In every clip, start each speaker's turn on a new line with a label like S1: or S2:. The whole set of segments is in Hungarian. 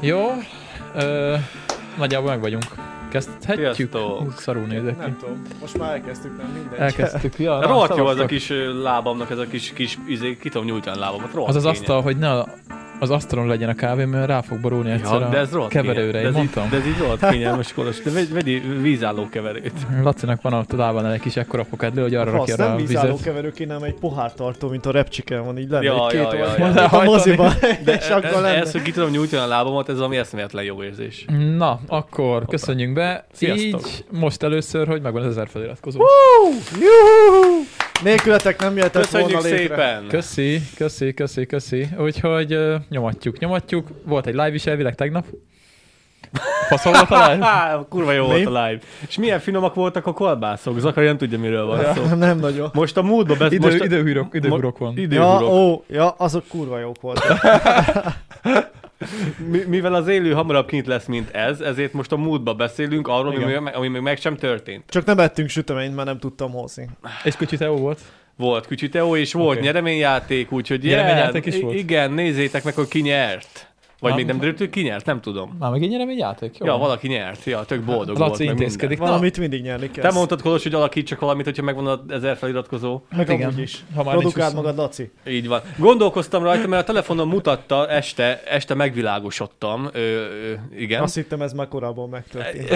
S1: Jó, ö, nagyjából meg vagyunk. Kezdhetjük?
S2: Sziasztok.
S1: Ú, Szarul nézek ki.
S3: Nem tudom, most már elkezdtük, nem mindegy.
S1: Elkezdtük. Ja, na,
S2: Rohadt jó az a
S1: szavaztok.
S2: kis ö, lábamnak, ez a kis, kis izé, ki tudom nyújtani a lábamat, rohadt
S1: Az az
S2: kényelmes.
S1: asztal, hogy ne a- az asztalon legyen a kávé, mert rá fog borulni egyszer
S2: Ja, de ez
S1: a
S2: rohadt
S1: keverőre,
S2: kényelmes.
S1: én
S2: de ez
S1: mondtam.
S2: Így, de ez így rohadt kényelmes koros. De vegy, vegyi vízálló keverőt.
S1: Lacinak van a tudában egy kis ekkora fokedlő, hogy arra
S3: Fasz,
S1: rakja rá
S3: nem
S1: a vizet.
S3: vízálló keverő kéne, hanem egy pohártartó, mint a repcsiken van, így lenne
S2: Ja,
S3: egy két
S2: ja, ja,
S3: oldal,
S2: ja.
S3: mint a
S1: Lehajtani.
S3: moziba,
S2: De
S3: és akkor
S2: ez,
S3: lenne. Mm.
S2: ez, hogy ki tudom nyújtani a lábamat, ez ami eszméletlen jó érzés.
S1: Na, akkor köszönjünk be.
S2: Sziasztok.
S1: Így most először, hogy megvan az ezer feliratkozó.
S3: Hú, juhú! Nélkületek nem jöhetett
S2: Köszönjük
S3: volna létre.
S2: szépen!
S1: Köszi, köszi, köszi, köszi. Úgyhogy ö, nyomatjuk, nyomatjuk. Volt egy live is elvileg tegnap. Faszol volt a live?
S2: Há, kurva jó
S3: Mi?
S2: volt a live. És milyen finomak voltak a kolbászok? Zakari nem tudja, miről van szó.
S3: Ja, nem nagyon.
S2: Most a múltba besz...
S1: Idő,
S2: most a...
S1: időhűrök, időhűrök van.
S3: Ja,
S2: Időhurok.
S3: ó, ja, azok kurva jók voltak.
S2: Mi- Mivel az élő hamarabb kint lesz, mint ez, ezért most a múltba beszélünk arról, ami
S1: Igen.
S2: még, ami még meg sem történt.
S3: Csak nem ettünk süteményt, mert nem tudtam hozni.
S2: Hát
S1: És kicsit EU volt.
S2: Volt Kücsi Teó, és volt
S1: Oké.
S2: okay. nyereményjáték, úgyhogy
S1: Nyereményjáték
S2: jel-
S1: is volt?
S2: igen, nézzétek meg, hogy ki nyert. Vagy
S1: Nem.
S2: még nem derült, hogy ki nyert, nem tudom.
S1: Már megint nyerem egy játék, jó? Hát,
S2: Ja, valaki nyert, ja, tök boldog volt.
S1: Laci
S2: meg
S1: intézkedik.
S2: minden.
S1: Na,
S3: Valamit mindig nyerni kell.
S2: Te mondtad, Kolos, hogy alakíts csak valamit, hogyha megvan az ezer feliratkozó.
S3: meg
S1: igen,
S3: amúgy is.
S1: ha már nincs
S3: Produkáld
S1: huszon.
S3: magad, Laci.
S2: Így van. Gondolkoztam rajta, mert a telefonon mutatta, este, este megvilágosodtam. Ö, ö, igen.
S3: Azt hittem, ez már korábban megtörtént.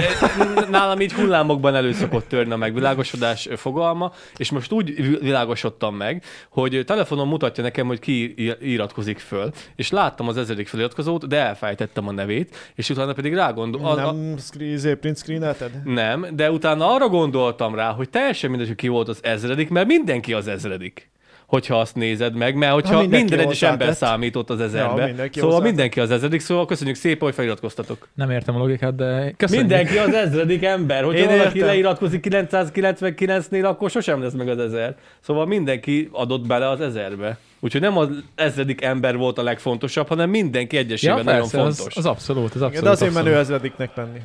S2: Nálam így hullámokban elő szokott törni a megvilágosodás fogalma, és most úgy vi- világosodtam meg, hogy telefonon mutatja nekem, hogy ki i- iratkozik föl, és láttam az ezredik feliratkozót, de elfejtettem a nevét, és utána pedig rágondoltam.
S3: Nem screen, izé, print screenelted?
S2: nem, de utána arra gondoltam rá, hogy teljesen mindegy, hogy ki volt az ezredik, mert mindenki az ezredik hogyha azt nézed meg, mert hogyha
S3: mindenki
S2: minden egyes ember
S3: hozzátett.
S2: számított az ezerbe.
S3: mindenki
S2: szóval
S3: hozzátett.
S2: mindenki az ezredik, szóval köszönjük szépen, hogy feliratkoztatok.
S1: Nem értem a logikát, de köszönjük.
S2: Mindenki az ezredik ember. Hogyha
S3: Én
S2: Én valaki
S3: értem.
S2: leiratkozik 999-nél, akkor sosem lesz meg az ezer. Szóval mindenki adott bele az ezerbe. Úgyhogy nem az ezredik ember volt a legfontosabb, hanem mindenki egyesével
S1: Ja,
S2: nagyon
S1: persze,
S2: fontos.
S1: az, az abszolút, az
S3: Igen,
S1: abszolút.
S3: de azért
S1: abszolút.
S3: menő ezrediknek lenni.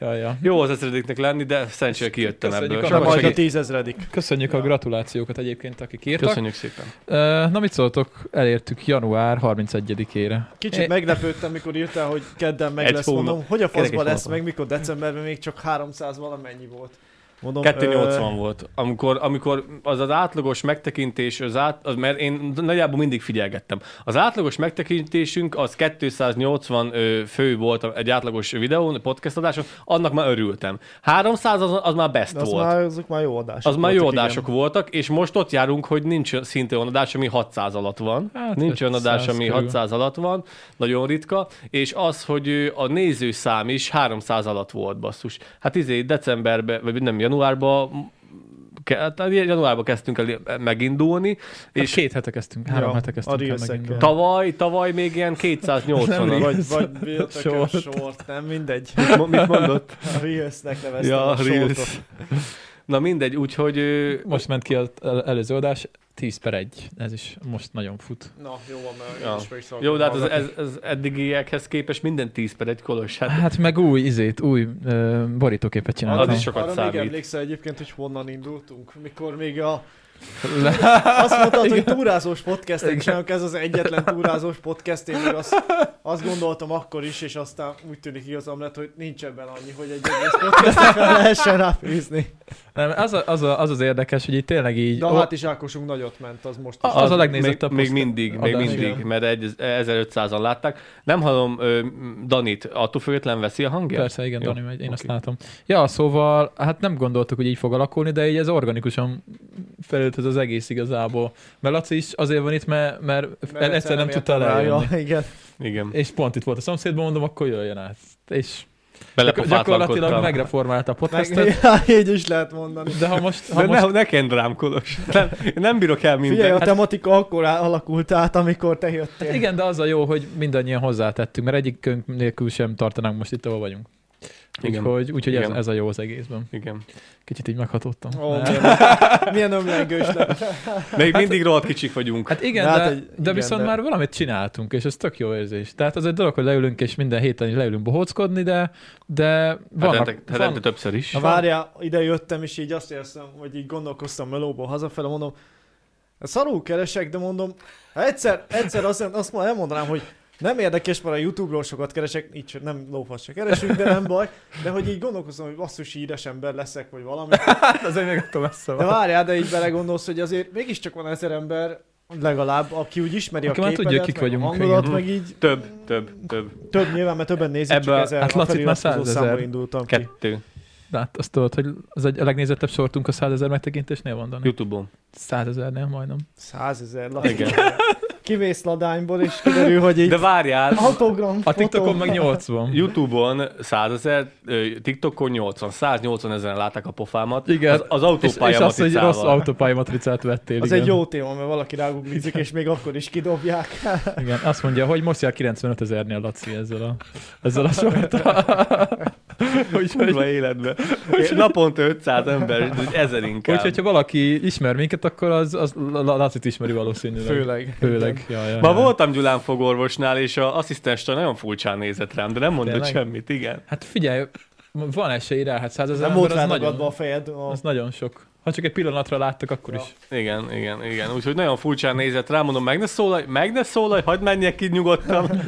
S1: Ja, ja.
S2: Jó az ezrediknek lenni, de szerencsére kijöttem
S1: Köszönjük
S2: ebből.
S1: a
S3: Csak
S1: Csak
S3: majd a
S2: Segít-
S3: tízezredik.
S1: Köszönjük a gratulációkat egyébként, akik írtak.
S2: Köszönjük szépen.
S1: Ö, Na mit szóltok, elértük január E, 31-ére.
S3: Kicsit
S1: É-
S3: meglepődtem, mikor írtál, hogy kedden meg
S2: Egy
S3: lesz,
S2: hónap.
S3: mondom, hogy a
S2: Kerek egy
S3: faszban lesz
S2: hónapon.
S3: meg, mikor decemberben még csak 300 valamennyi volt. Mondom,
S2: 280
S3: ö,
S2: volt. Amikor, amikor az az átlagos megtekintés, az át, az, mert én nagyjából mindig figyelgettem. Az átlagos megtekintésünk az 280 ö, fő volt egy átlagos videón, podcast adáson, annak már örültem. 300 az, az már best
S3: de Az
S2: volt.
S3: már, azok már jó adások.
S2: Az már jó
S3: voltak,
S2: adások igen. voltak, és most ott járunk, hogy nincs szinte olyan adás, ami 600 alatt van.
S1: Hát
S2: Hát nincs olyan
S1: 500
S2: adás, ami
S1: körül.
S2: 600 alatt van, nagyon ritka, és az, hogy ö, a nézőszám is 300 alatt volt, basszus. Hát izé decemberben, vagy nem, januárban, ke- hát januárban kezdtünk el megindulni,
S1: És
S2: és
S1: Hát két hete kezdtünk, három
S3: Ja,
S1: hete kezdtünk
S3: a
S1: el
S3: Reels-ekkel.
S1: megindulni.
S2: tavaly, tavaly még ilyen 280
S1: Nem
S2: alatt.
S3: igen. Vagy, vagy Biltökön
S1: Short.
S3: sort, nem mindegy.
S2: Mo- Mit mondott?
S3: A Reels-nek neveztem
S2: Ja,
S3: a
S2: Reels.
S3: Reels.
S2: Na mindegy, úgyhogy ö,
S1: Most ment ki az el- előző adás, 10 per 1, ez is most nagyon fut.
S3: Na, jó van, mert
S2: Ja.
S3: én is meg is
S2: jó, de hát
S3: szoktam
S2: ez,
S3: hallgatni.
S2: ez, ez eddigiekhez képest minden 10 per egy kolos. Hát
S1: Hát meg új izét, új ö, borítóképet csináltam.
S2: Az is sokat
S3: Arra
S2: számít.
S3: még emlékszel egyébként, hogy honnan indultunk? Mikor még a... Azt mondtad, hogy túrázós podcastet csinálunk, ez az egyetlen túrázós podcast, én még azt, azt gondoltam akkor is, és aztán úgy tűnik igazam lett, hogy nincs ebben annyi, hogy egy egész podcastet fel lehessen ráfűzni.
S1: Nem, az, a, az, a, az az érdekes, hogy itt tényleg így...
S3: De hát is Ákosunk nagyot ment, az most is.
S1: A- az a legnézettebb
S2: Még,
S1: poszt-
S2: még mindig,
S1: adás.
S2: még mindig,
S3: Igen.
S2: mert egy, 1500-an látták. Nem hallom ö, m- Danit, attól független veszi a hangját?
S1: Persze, igen,
S2: Jó,
S1: Dani megy, én azt
S2: oké.
S1: látom. Ja, szóval, hát nem gondoltuk, hogy így fog alakulni, de így ez organikusan felült ez az egész igazából. Mert Laci is azért van itt, mert, mert, mert egyszer nem tudta
S3: értem rá,
S1: lejönni.
S3: ja, igen.
S2: Igen,
S1: És pont itt volt a szomszédban, mondom, akkor jöjjön át. És gyak- gyakorlatilag
S2: belepofátlankodtam.
S1: megreformálta a
S3: Meg,
S1: podcastet,
S3: ja, így is lehet mondani.
S1: de ha most... Ha
S2: De
S1: most
S2: ne, ne kend rám, Kolos. Nem, én nem bírok el mindent.
S3: Figyelj, a
S2: Hát
S3: tematika akkor á- alakult át, amikor te jöttél.
S1: hát igen, de az a jó, hogy mindannyian hozzátettünk, mert egyikünk nélkül sem tartanánk most itt, ahol vagyunk.
S2: Igen.
S1: Úgyhogy, úgyhogy ez,
S2: Igen.
S1: ez a jó az egészben.
S2: Igen.
S1: Kicsit így meghatottam.
S3: Ó, milyen, milyen ömlengős lett.
S2: Még mindig rohadt kicsik vagyunk.
S1: Hát igen,
S3: De
S1: de,
S3: hát
S1: de,
S3: egy-
S1: egy, de
S3: igen,
S1: viszont
S3: de-
S1: de... már valamit csináltunk, és ez tök jó érzés. Tehát az egy dolog, hogy leülünk, és minden héten is leülünk bohóckodni, de, de vannak,
S2: Hetente,
S1: van,
S2: hetente Hát többször is.
S3: Na várjál, ide jöttem, és így azt érzem, hogy így gondolkoztam melóból hazafele, mondom, "Hát szarul keresek, de mondom, ha egyszer, egyszer azt, azt már elmondanám, hogy nem érdekes, mert a Youtube-ról sokat keresek, így se- nem lófasz se keresünk, de nem baj. De hogy így gondolkoztam, hogy basszus híres ember leszek, vagy valami.
S1: Hát azért még attól messze
S3: De
S1: van.
S3: várjál, de így belegondolsz, hogy azért mégiscsak van ezer ember, legalább, aki úgy ismeri
S1: Aki
S3: a
S1: már
S3: képedet,
S1: tudja, kik
S3: meg
S1: vagyunk,
S3: a hangodat,
S2: igen.
S3: meg így
S2: Több, több, több.
S3: több nyilván, mert többen nézik,
S2: Ebből-
S3: csak ezer.
S1: hát
S3: a
S1: Laci, itt már
S3: feliratkozó számmal
S1: 100 000.
S3: indultam ki.
S2: Kettő.
S1: De hát azt tudod, hogy az egy a legnézettebb sortunk a 100 ezer megtekintésnél van, Dani?
S2: Youtube-on.
S1: 100 ezernél majdnem.
S3: Százezer
S2: Igen.
S3: lapja. Kivész ladányból, és kiderül, hogy így
S2: De várjál,
S3: autogram,
S1: A
S3: fotó.
S1: TikTokon meg 80.
S2: Youtube-on 100 ezer, ö, TikTokon 80, 180 ezeren látták a pofámat.
S1: Igen.
S2: Az, az
S1: És, és
S2: autópálya
S1: azt, hogy rossz
S2: matricával.
S1: autópályamatricát vettél.
S3: Az
S1: igen.
S3: egy jó téma, mert valaki ráguglizik, és még akkor is kidobják.
S1: Igen, azt mondja, hogy most jár 95 ezernél Laci ezzel a, ezzel a sortal. Úgyhogy
S2: Kurva életbe. Naponta 500 ember, ezer inkább.
S1: Úgyhogy, ha valaki ismer minket, akkor az, az La- La- Lacit ismeri valószínűleg.
S3: Főleg.
S1: Főleg. Ja, ja,
S2: Ma
S1: ja.
S2: voltam Gyulán fogorvosnál, és az asszisztensre nagyon furcsán nézett rám, de nem mondott
S1: Tényleg?
S2: semmit, igen.
S1: Hát figyelj, van esély rá, hát 100 ezer
S3: Nem volt
S1: ember, az
S3: ránagadva a
S1: nagyon,
S3: fejed. A...
S1: az nagyon sok. Ha csak egy pillanatra láttak, akkor
S3: Ja.
S1: is.
S2: Igen, igen, igen. Úgyhogy nagyon furcsán nézett rám, mondom, meg ne szólalj, meg ne szólalj, hagyd menjek ki nyugodtan.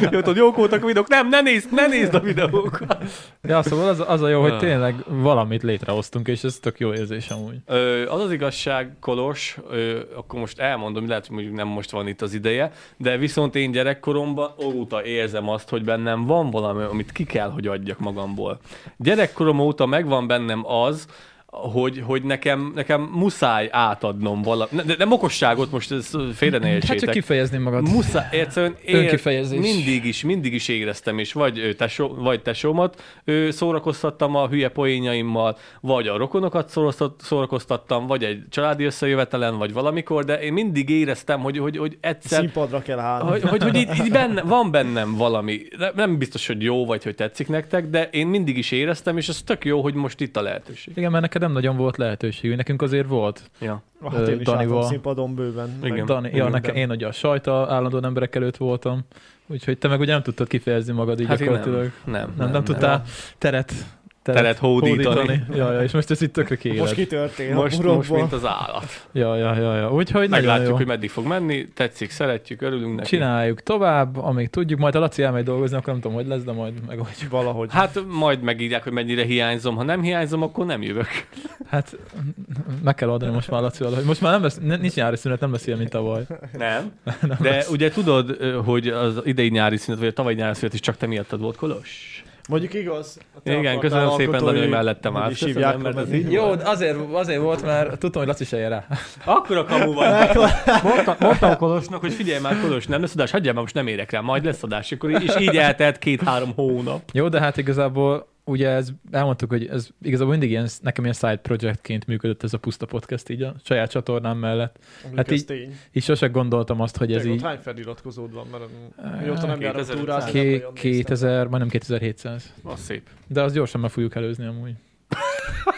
S2: Jó, hogy jók voltak a videók. Nem, ne nézd, ne nézd a videókat.
S1: Ja, szóval az, az a jó,
S2: Ja.
S1: hogy tényleg valamit létrehoztunk, és ez tök jó érzés amúgy.
S2: Ö, az az igazság, Kolos, ö, akkor most elmondom, lehet, hogy mondjuk nem most van itt az ideje, de viszont én gyerekkoromban óta érzem azt, hogy bennem van valami, amit ki kell, hogy adjak magamból. Gyerekkorom óta megvan bennem az, hogy, hogy nekem, nekem muszáj átadnom valamit. De, de mokosságot most ezt félre ne
S1: Hát csak
S2: értsétek.
S1: kifejezni magad.
S2: Muszáj, egyszerűen
S1: Önkifejezés.
S2: mindig is, mindig is éreztem, és vagy, ö, tesó, vagy tesómat ö, szórakoztattam a hülye poénjaimmal, vagy a rokonokat szóroztat- szórakoztattam, vagy egy családi összejövetelen, vagy valamikor, de én mindig éreztem, hogy, hogy, hogy egyszer
S3: Színpadra kell állni.
S2: hogy, hogy, hogy így, így benne, van bennem valami, De nem biztos, hogy jó vagy, hogy tetszik nektek, de én mindig is éreztem, és ez tök jó, hogy most itt a lehetőség.
S1: Igen, mert neked nem nagyon volt lehetőségünk, nekünk azért volt.
S2: Ja.
S3: Hát én is
S1: Danival.
S3: álltam színpadon bőven. meg
S2: Igen.
S1: Dani, ja,
S3: minden.
S1: nekem, én ugye a sajta állandóan emberek előtt voltam, úgyhogy te meg ugye nem tudtad kifejezni magad így
S2: Hát én nem,
S1: gyakorlatilag.
S2: nem, nem,
S1: Nem, nem, tudtál teret,
S2: Teret hódítani.
S1: Ja, ja, és most ez itt tökre kiéled.
S3: Most kitörtél a
S2: Most, most,
S3: burokból.
S2: mint az állat.
S1: Ja, ja, ja, ja. Úgyhogy nagyon
S2: Meglátjuk,
S1: jó.
S2: hogy meddig fog menni, tetszik, szeretjük, örülünk neki.
S1: Csináljuk tovább, amíg tudjuk. Majd a Laci elmegy dolgozni, akkor nem tudom, hogy lesz, de majd megoldjuk.
S3: Valahogy.
S2: Hát majd megírják, hogy mennyire hiányzom. Ha nem hiányzom, akkor nem jövök.
S1: Hát meg kell adni most már Lacival, hogy most már nem lesz, ne- nincs nyári szünet, nem lesz ilyen, mint tavaly.
S2: Nem. De ugye tudod, ö, hogy az idei nyári szünet, vagy a tavaly nyári szünet is csak te miattad volt, Kolos?
S3: Mondjuk igaz. a te
S2: Igen,
S3: akartál
S2: köszönöm szépen,
S3: alkotói,
S2: Dani, hogy mellettem
S3: úgy
S2: állt.
S3: is
S2: Köszönöm,
S3: hívják,
S2: mert
S3: mert
S2: ez
S3: ez
S2: így
S3: így
S1: Jó, azért, azért volt, mert tudtam, hogy Laci se jön rá.
S2: Akkor a kamu van. Mondtam, mondtam Kolosnak, hogy figyelj már, Kolos, nem lesz adás, hagyjál már, most nem érek rá, majd lesz adás. Akkor így- és így eltelt két-három hónap.
S1: Jó, de hát igazából ugye ez, elmondtuk, hogy ez igazából mindig ilyen, nekem ilyen side projectként működött ez a puszta podcast így a saját csatornám mellett.
S3: Mondjuk
S1: Hát
S3: ez
S1: így-
S3: tény.
S1: És sose gondoltam azt, hogy ez
S3: Tényleg, ott
S1: így
S3: Hány feliratkozód van, mert mióta nem járok
S2: 2000.
S3: túrázni, nem
S1: ké-
S3: nagyon néztem.
S1: 2000, majdnem 2700.
S2: Az szép.
S1: De az gyorsan meg fogjuk előzni amúgy.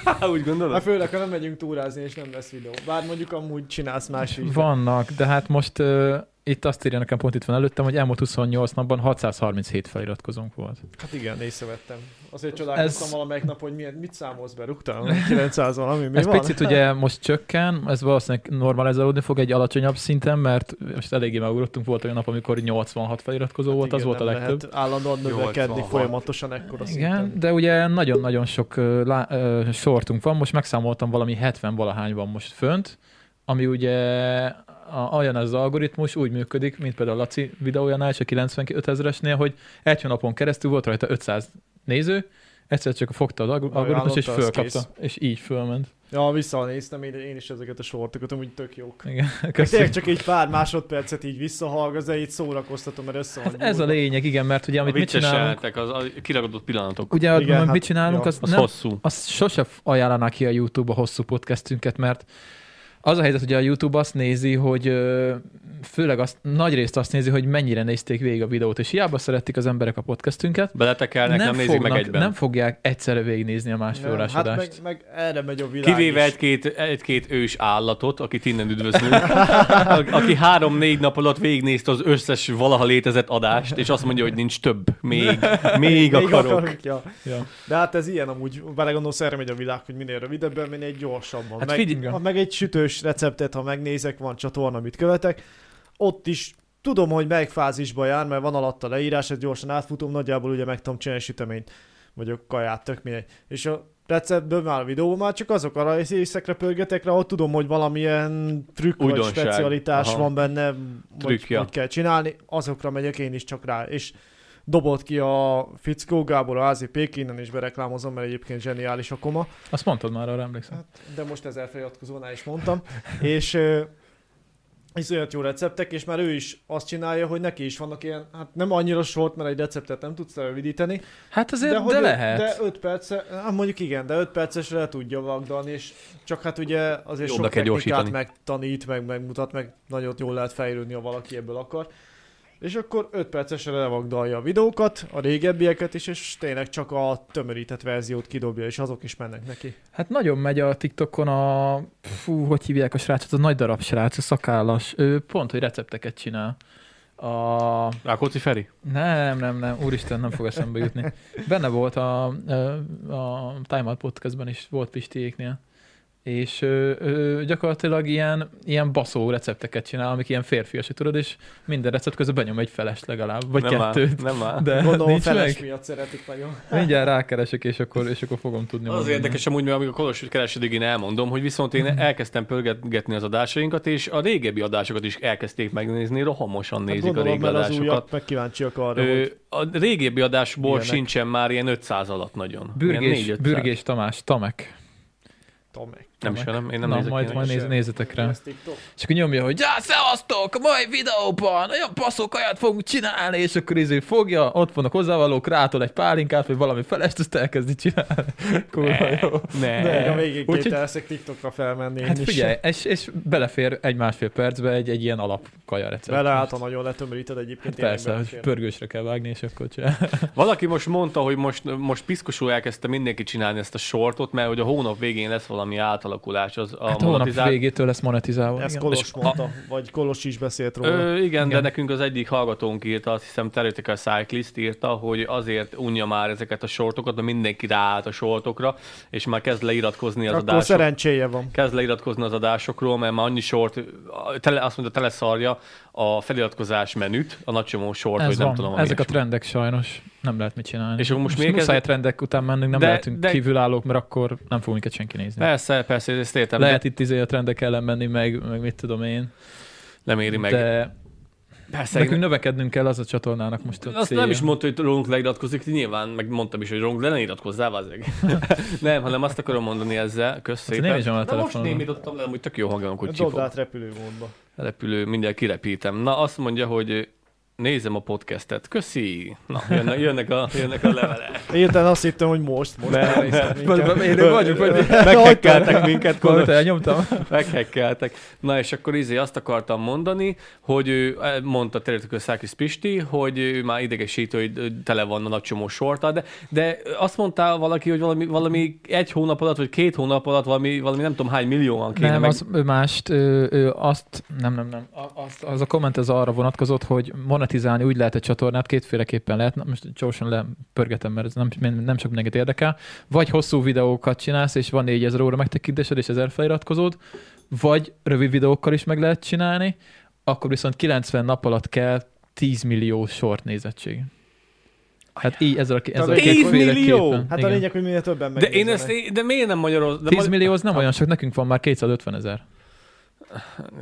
S2: Há, úgy
S3: Hát
S2: gondolod?
S3: főleg, ha nem megyünk túrázni, és nem lesz videó. Bár mondjuk amúgy csinálsz más videót.
S1: Vannak, de hát most uh, itt azt írja nekem pont itt van előttem, hogy elmúlt 28 napban 637 feliratkozónk volt.
S3: Hát igen, észrevettem. Azért csodálkoztam
S1: Ez-
S3: valamelyik nap, hogy milyen, mit számolsz be, rúgtam? 900 valami, mi
S1: Mi ez
S3: van? Hát
S1: van? picit ugye most csökken, ez valószínűleg normalizálódni fog egy alacsonyabb szinten, mert most eléggé megugrottunk, volt olyan nap, amikor 86 feliratkozó hát volt,
S3: igen,
S1: az volt a
S3: nem
S1: legtöbb.
S3: Lehet állandóan növekedni
S2: 86.
S3: folyamatosan ekkora
S1: Igen,
S3: szinten.
S1: de ugye nagyon-nagyon sok ö, lá, ö, sortunk van, most megszámoltam valami 70 valahány van most fönt, ami ugye a, olyan ez az algoritmus úgy működik, mint például a Laci videójánál és a 95 ezeresnél, hogy egy hónapon keresztül volt rajta 500 néző, egyszer csak fogta az alg- algoritmus, és
S3: ajánlotta, az
S1: fölkapta,
S3: kész.
S1: és így fölment.
S3: Ja, visszanéztem én, én is ezeket a sortokat, amúgy tök jók.
S1: Igen,
S3: Meg
S1: köszönöm.
S3: Tényleg csak egy pár másodpercet így visszahallgasz, de így szórakoztatom, mert össze van
S1: Hát ez a
S3: gyúrva.
S1: lényeg, igen, mert ugye
S2: A
S1: amit mit csinálunk,
S2: vicceseltek, az a kiragadott pillanatok.
S1: ugye
S3: Igen,
S1: igen,
S3: hát,
S1: mit csinálunk,
S3: ja.
S1: az,
S2: Az
S1: nem,
S2: hosszú.
S1: azt sose f- ajánlanák ki a YouTube-ba hosszú podcastünket, mert Az a helyzet, hogy a YouTube azt nézi, hogy ö, főleg azt, nagy részt azt nézi, hogy mennyire nézték végig a videót, és hiába szeretik az emberek a podcastünket,
S2: Beletekelnek, nem, nem nézik meg egyben.
S1: nem fogják egyszerre végignézni a másfél
S3: Nem,
S1: órás
S3: hát
S1: adást.
S3: meg, meg, erre megy a világ
S2: Kivéve
S3: is.
S2: egy-két, egy-két ős állatot, akit innen üdvözlünk, a- aki három-négy nap alatt végignézte az összes valaha létezett adást, és azt mondja, hogy nincs több, még, még
S3: Még
S2: akarok.
S3: ja.
S1: Ja.
S3: De hát ez ilyen amúgy, belegondolsz erre megy a világ, hogy minél rövidebben, minél gyorsabban.
S1: Hát
S3: meg,
S1: figyelj-
S3: ha meg egy sütős receptet, ha megnézek, van csatorna, amit követek, ott is tudom, hogy melyik fázisba jár, mert van alatta leírás, ezt gyorsan átfutom, nagyjából ugye meg tudom csinálni süteményt, vagy a kaját, tök mindegy. És a receptből már a videóban már csak azok a részekre pörgetek rá, ott tudom, hogy valamilyen trükk vagy
S2: Újdonság.
S3: specialitás
S2: Aha.
S3: van benne,
S2: Trükkja.
S3: Trükkja. hogy kell csinálni, azokra megyek én is csak rá. És dobott ki a Fickó Gábor a házi Pékinen is bereklámozom, mert egyébként zseniális a koma,
S1: Azt mondtad már, arra emlékszem.
S3: de most ezzel feliratkozónál is mondtam, és ö, iszonyat jó receptek, és már ő is azt csinálja, hogy neki is vannak ilyen, hát nem annyira sort, mert egy receptet nem tudsz rövidíteni,
S1: Hát azért, de,
S3: hogy
S1: de
S3: ő-
S1: lehet.
S3: De 5 perce, hát mondjuk igen, de 5 percesre le tudja vagdalni, és csak hát ugye azért
S2: Jobbra
S3: sok
S2: kell
S3: technikát
S2: gyorsítani.
S3: megtanít, meg megmutat, meg nagyon jól lehet fejlődni, ha valaki ebből akar. És akkor 5 percesre levagdalja a videókat, a régebbieket is, és tényleg csak a tömörített verziót kidobja, és azok is mennek neki.
S1: Hát nagyon megy a TikTokon a, fú, hogy hívják a srácot, a nagy darab srác, a szakállas, ő pont, hogy recepteket csinál. A...
S2: Rákóczi Feri?
S1: Nem, nem, nem, úristen, nem fog eszembe jutni. Benne volt a, a Time Out podcastben is, volt Pistiéknél, és ő, ő gyakorlatilag ilyen, ilyen baszó recepteket csinál, amik ilyen férfias, tudod, és minden recept közben benyom egy feles legalább, vagy
S2: nem áll,
S1: kettőt.
S2: nem áll.
S1: De
S3: Gondolom
S1: nincs
S3: feles
S1: meg.
S3: miatt szeretik nagyon.
S1: Mindjárt rákeresek, és akkor, és akkor fogom tudni.
S2: Az
S1: mondani.
S2: érdekes amúgy, mert amikor a Kolos keresődig én elmondom, hogy viszont én elkezdtem pörgetgetni az adásainkat, és a régebbi adásokat is elkezdték megnézni, rohamosan
S3: Hát
S2: nézik a
S3: gondolom,
S2: régi
S3: mert az
S2: adásokat.
S3: újak meg kíváncsiak arra,
S2: Ö,
S3: hogy
S2: a régebbi adásból
S3: Milyenek?
S2: sincsen már ilyen 500 alatt nagyon. Ilyen
S1: Bürgés,
S2: 400.
S1: Bürgés Tamás, Tamek.
S3: Tomek.
S2: Nem ismerem, én nem
S1: Na,
S2: nézek
S1: majd,
S2: ilyenek.
S1: majd
S3: én
S1: néz,
S3: sem.
S1: nézzetek rá.
S3: Ez TikTok.
S1: És akkor nyomja, hogy ja, szevasztok, a mai videóban olyan passzokaját fogunk csinálni, és akkor izé fogja, ott vannak hozzávalók, rátol egy pálinkát, vagy valami felest, azt elkezdi csinálni. Kurva jó.
S2: Ne.
S3: Még
S1: Ne.
S3: a végig
S1: Úgyhogy-
S3: kételszek TikTokra felmenni.
S1: Hát
S3: Eh, én is.
S1: figyelj, és, és belefér egy másfél percbe egy, egy ilyen alapkaja recept.
S3: Beleállt, ha nagyon letömöríted egyébként.
S1: Hát
S3: hát tényleg
S1: persze, hogy
S3: belefér.
S1: pörgősre kell vágni, és akkor csinál.
S2: Valaki most mondta, hogy most, most piszkosul elkezdte mindenki csinálni ezt a sortot, mert hogy a hónap végén lesz valami átalakulás. Az a
S1: Hát hónap
S2: monetizált-
S1: végétől lesz monetizálva.
S3: Ez
S1: igen.
S3: Kolos
S2: És a-
S3: mondta, vagy Kolos is beszélt róla.
S2: Ö, igen, igen, de
S1: Igen.
S2: nekünk az egyik hallgatónk írta, azt hiszem Theoretical Cyclist írta, hogy azért unja már ezeket a sortokat, mert mindenki ráállt a sortokra, és már kezd leiratkozni az
S3: Akkor
S2: adások.
S3: szerencséje van.
S2: kezd leiratkozni az adásokról, mert már annyi sort, a- tele, azt mondja, teleszarja a feliratkozás menüt, a nagy csomó sort,
S1: Ez
S2: hogy nem
S1: van.
S2: tudom. ami
S1: Ezek a
S2: ilyesmi.
S1: trendek sajnos nem lehet mit csinálni.
S2: És akkor most
S1: muszáj
S2: miért kezd-
S1: trendek után mennünk, nem de,
S2: De-
S1: lehetünk
S2: de-
S1: de... kívülállók, mert akkor nem fog minket senki nézni.
S2: Persze, persze, ezt értem,
S1: lehet
S2: Lehet,
S1: itt izé a trendek ellen menni, meg, meg mit tudom én.
S2: nem éri meg.
S1: De
S2: persze,
S1: nekünk
S2: én,
S1: növekednünk kell az a csatornának most a
S2: azt
S1: célja.
S2: nem is mondta, hogy rólunk leiratkozik, nyilván, meg mondtam is, hogy rólunk, de ne iratkozzál, vázzeg. nem, hanem azt akarom mondani ezzel, kösz
S1: Hát
S2: szépen.
S1: nem is van a
S2: Na most
S1: telefonon.
S2: némítottam le, amúgy tök jó hangja, amikor
S3: Dobd
S2: csipog.
S3: át repülőmódba.
S2: Repülő, mindjárt kirepítem. Na, azt mondja, hogy nézem a podcastet. Köszi! Na, jönnek, jönnek a, jönnek a levelek.
S3: Érten azt hittem, hogy most, most
S2: Nem,
S3: elnéztem
S1: Vagy-
S3: inkább.
S1: vagy- Élő vagyunk, vagy
S2: Meghekkeltek minket,
S1: Valamit
S2: Kolos.
S1: elnyomtam.
S2: Meghekkeltek. Na és akkor izé azt akartam mondani, hogy ő, eh, mondta területekről Szákis Pisti, hogy ő már idegesítő, hogy tele van a nagy csomó sorta, de, de azt mondta valaki, hogy valami, valami egy hónap alatt, vagy két hónap alatt valami, valami nem tudom hány millióan kéne.
S1: Nem,
S2: meg...
S1: az ő mást, ő, ő azt, nem, nem, nem, A- azt, az a komment az arra vonatkozott, hogy monetizálni úgy lehet egy csatornát, kétféleképpen lehet, Na, most gyorsan lepörgetem, mert ez nem, nem sok mindenkit érdekel, vagy hosszú videókat csinálsz, és van 4000 óra megtekintésed, és 1000 feliratkozód, vagy rövid videókkal is meg lehet csinálni, akkor viszont 90 nap alatt kell 10 millió sort nézettség. Hát így ezzel a, ké- ezzel a
S3: 10
S1: kétféleképpen.
S2: millió?
S3: Hát a
S1: Igen.
S3: lényeg, hogy minél többen
S2: De én ezt,
S3: megnézzenek.
S2: de miért nem magyaroz? De
S1: 10
S2: ma-
S1: millió az nem olyan sok, nekünk van már 250 ezer.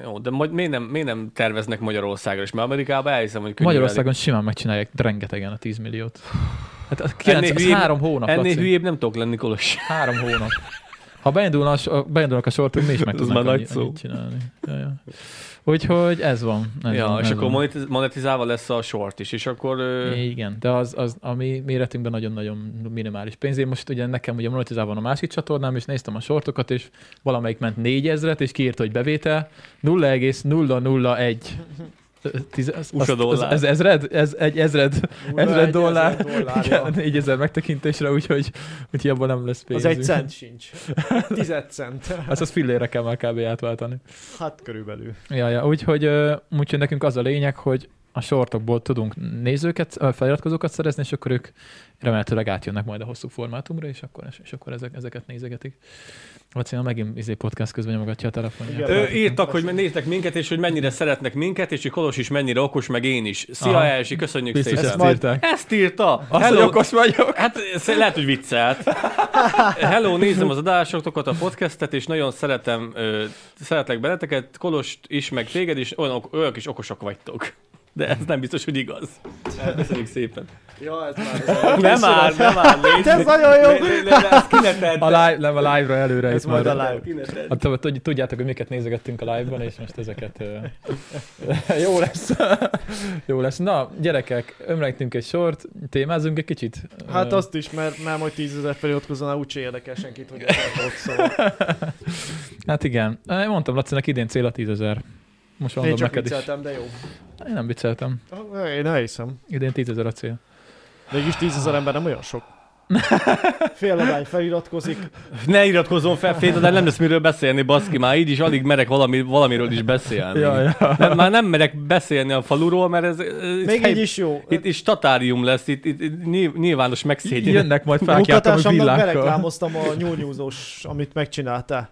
S2: Jó, de majd miért nem, miért nem terveznek Magyarországra is? Mert Amerikában elhiszem, hogy könnyű
S1: Magyarországon simán megcsinálják rengetegen a 10 milliót. Hát az
S2: Ennél
S1: 9, ez
S2: hülyébb-
S1: három
S2: elég.
S1: hónap,
S2: Ennél
S1: Laci.
S2: hülyébb nem tudok lenni, Kolos.
S1: Három hónap. Ha beindulna a, so- beindulnak a sortunk, mi is meg
S2: Ez
S1: tudnánk
S2: már
S1: annyi,
S2: nagy szó.
S1: annyit csinálni. Ja, ja. Úgyhogy ez van. Ez
S2: Ja,
S1: van,
S2: és
S1: ez
S2: akkor
S1: van.
S2: monetiz- monetizálva lesz a short is, és akkor... ö,
S1: Igen, de az, az a mi méretünkben nagyon-nagyon minimális pénz. Én most ugye nekem ugye monetizálva van a másik csatornám, és néztem a sortokat, és valamelyik ment 4000-et, és kiírta, hogy bevétel 0,001 Tiz, az,
S2: USA
S1: az,
S2: dollár.
S1: az, ezred? Ez egy ezred,
S3: Nulla egy
S1: ezred dollár.
S3: dollárja.
S1: Igen, 4000 megtekintésre, úgyhogy, úgyhogy abban nem lesz pénz.
S3: Az egy cent sincs. Tized cent.
S1: Hát az fillére kell már kb. átváltani.
S3: Hát körülbelül.
S1: Ja, ja, úgyhogy, ö, úgyhogy nekünk az a lényeg, hogy a sortokból tudunk nézőket, ö, feliratkozókat szerezni, és akkor ők remélhetőleg átjönnek majd a hosszú formátumra, és akkor, és akkor ezek, ezeket nézegetik. Laci, már megint izé podcast közben nyomogatja a telefonját.
S3: Igen.
S2: Ő írtak, hogy néztek minket, és hogy mennyire szeretnek minket, és hogy Kolos is mennyire okos, meg én is. Szia,
S1: Aha.
S2: Elsi, köszönjük
S1: Biztos
S2: szépen.
S1: ezt írták.
S2: Ezt írta!
S1: Azt, hogy
S2: Hello,
S1: okos vagyok.
S2: Hát ez lehet, hogy viccelt. Hello, nézem az adásokat, a podcastet, és nagyon szeretem, ö, szeretlek beleteket, Kolost is, meg téged is, olyan, ok- olyanok is okosak vagytok. De ez nem biztos, hogy igaz. Köszönjük szépen.
S3: Ja, ez már.
S2: Nem áll, nem áll, légy.
S3: Ez nagyon jó.
S2: Le- le- le- ezt ki ne tedd.
S1: A live, nem a live-ra előre.
S3: Ez
S1: itt
S3: majd
S1: már-
S3: a live.
S2: Ki ne tedd.
S1: Hát, tudj- tudj- tudjátok, hogy miket nézegettünk a live-ban, és most ezeket ö, jó lesz. jó lesz. Na, gyerekek, ömlengtünk egy sort, témázunk egy kicsit.
S3: Hát
S1: Ö,
S3: azt is, mert már majd 10 ezer feliratkozónál úgyse érdekel senkit, hogy ezt akarok, szóval.
S1: Hát igen. Én mondtam Lacinak idén cél a 10 ezer. Most
S3: Én
S1: mondom
S3: csak
S1: neked is.
S3: vicceltem, de jó.
S1: Én nem vicceltem.
S3: Ah, Én elhiszem.
S1: Idén 10 ezer a cél.
S3: Mégis 10 ezer ember nem olyan sok. Fél adány feliratkozik.
S2: Ne iratkozzon fel, Féda, de nem lesz miről beszélni, baszki, már így is alig merek valami, valamiről is beszélni.
S1: ja.
S2: Nem, már nem merek beszélni a faluról, mert ez, ez
S3: Még így is jó.
S2: Itt is tatárium lesz, itt, itt, itt nyilv- nyilvános megszégyen.
S1: Jönnek majd felkiáltom, hogy
S3: Munkatársamnak
S1: villákkal.
S3: bereklámoztam a nyúlnyúzós, amit megcsináltál.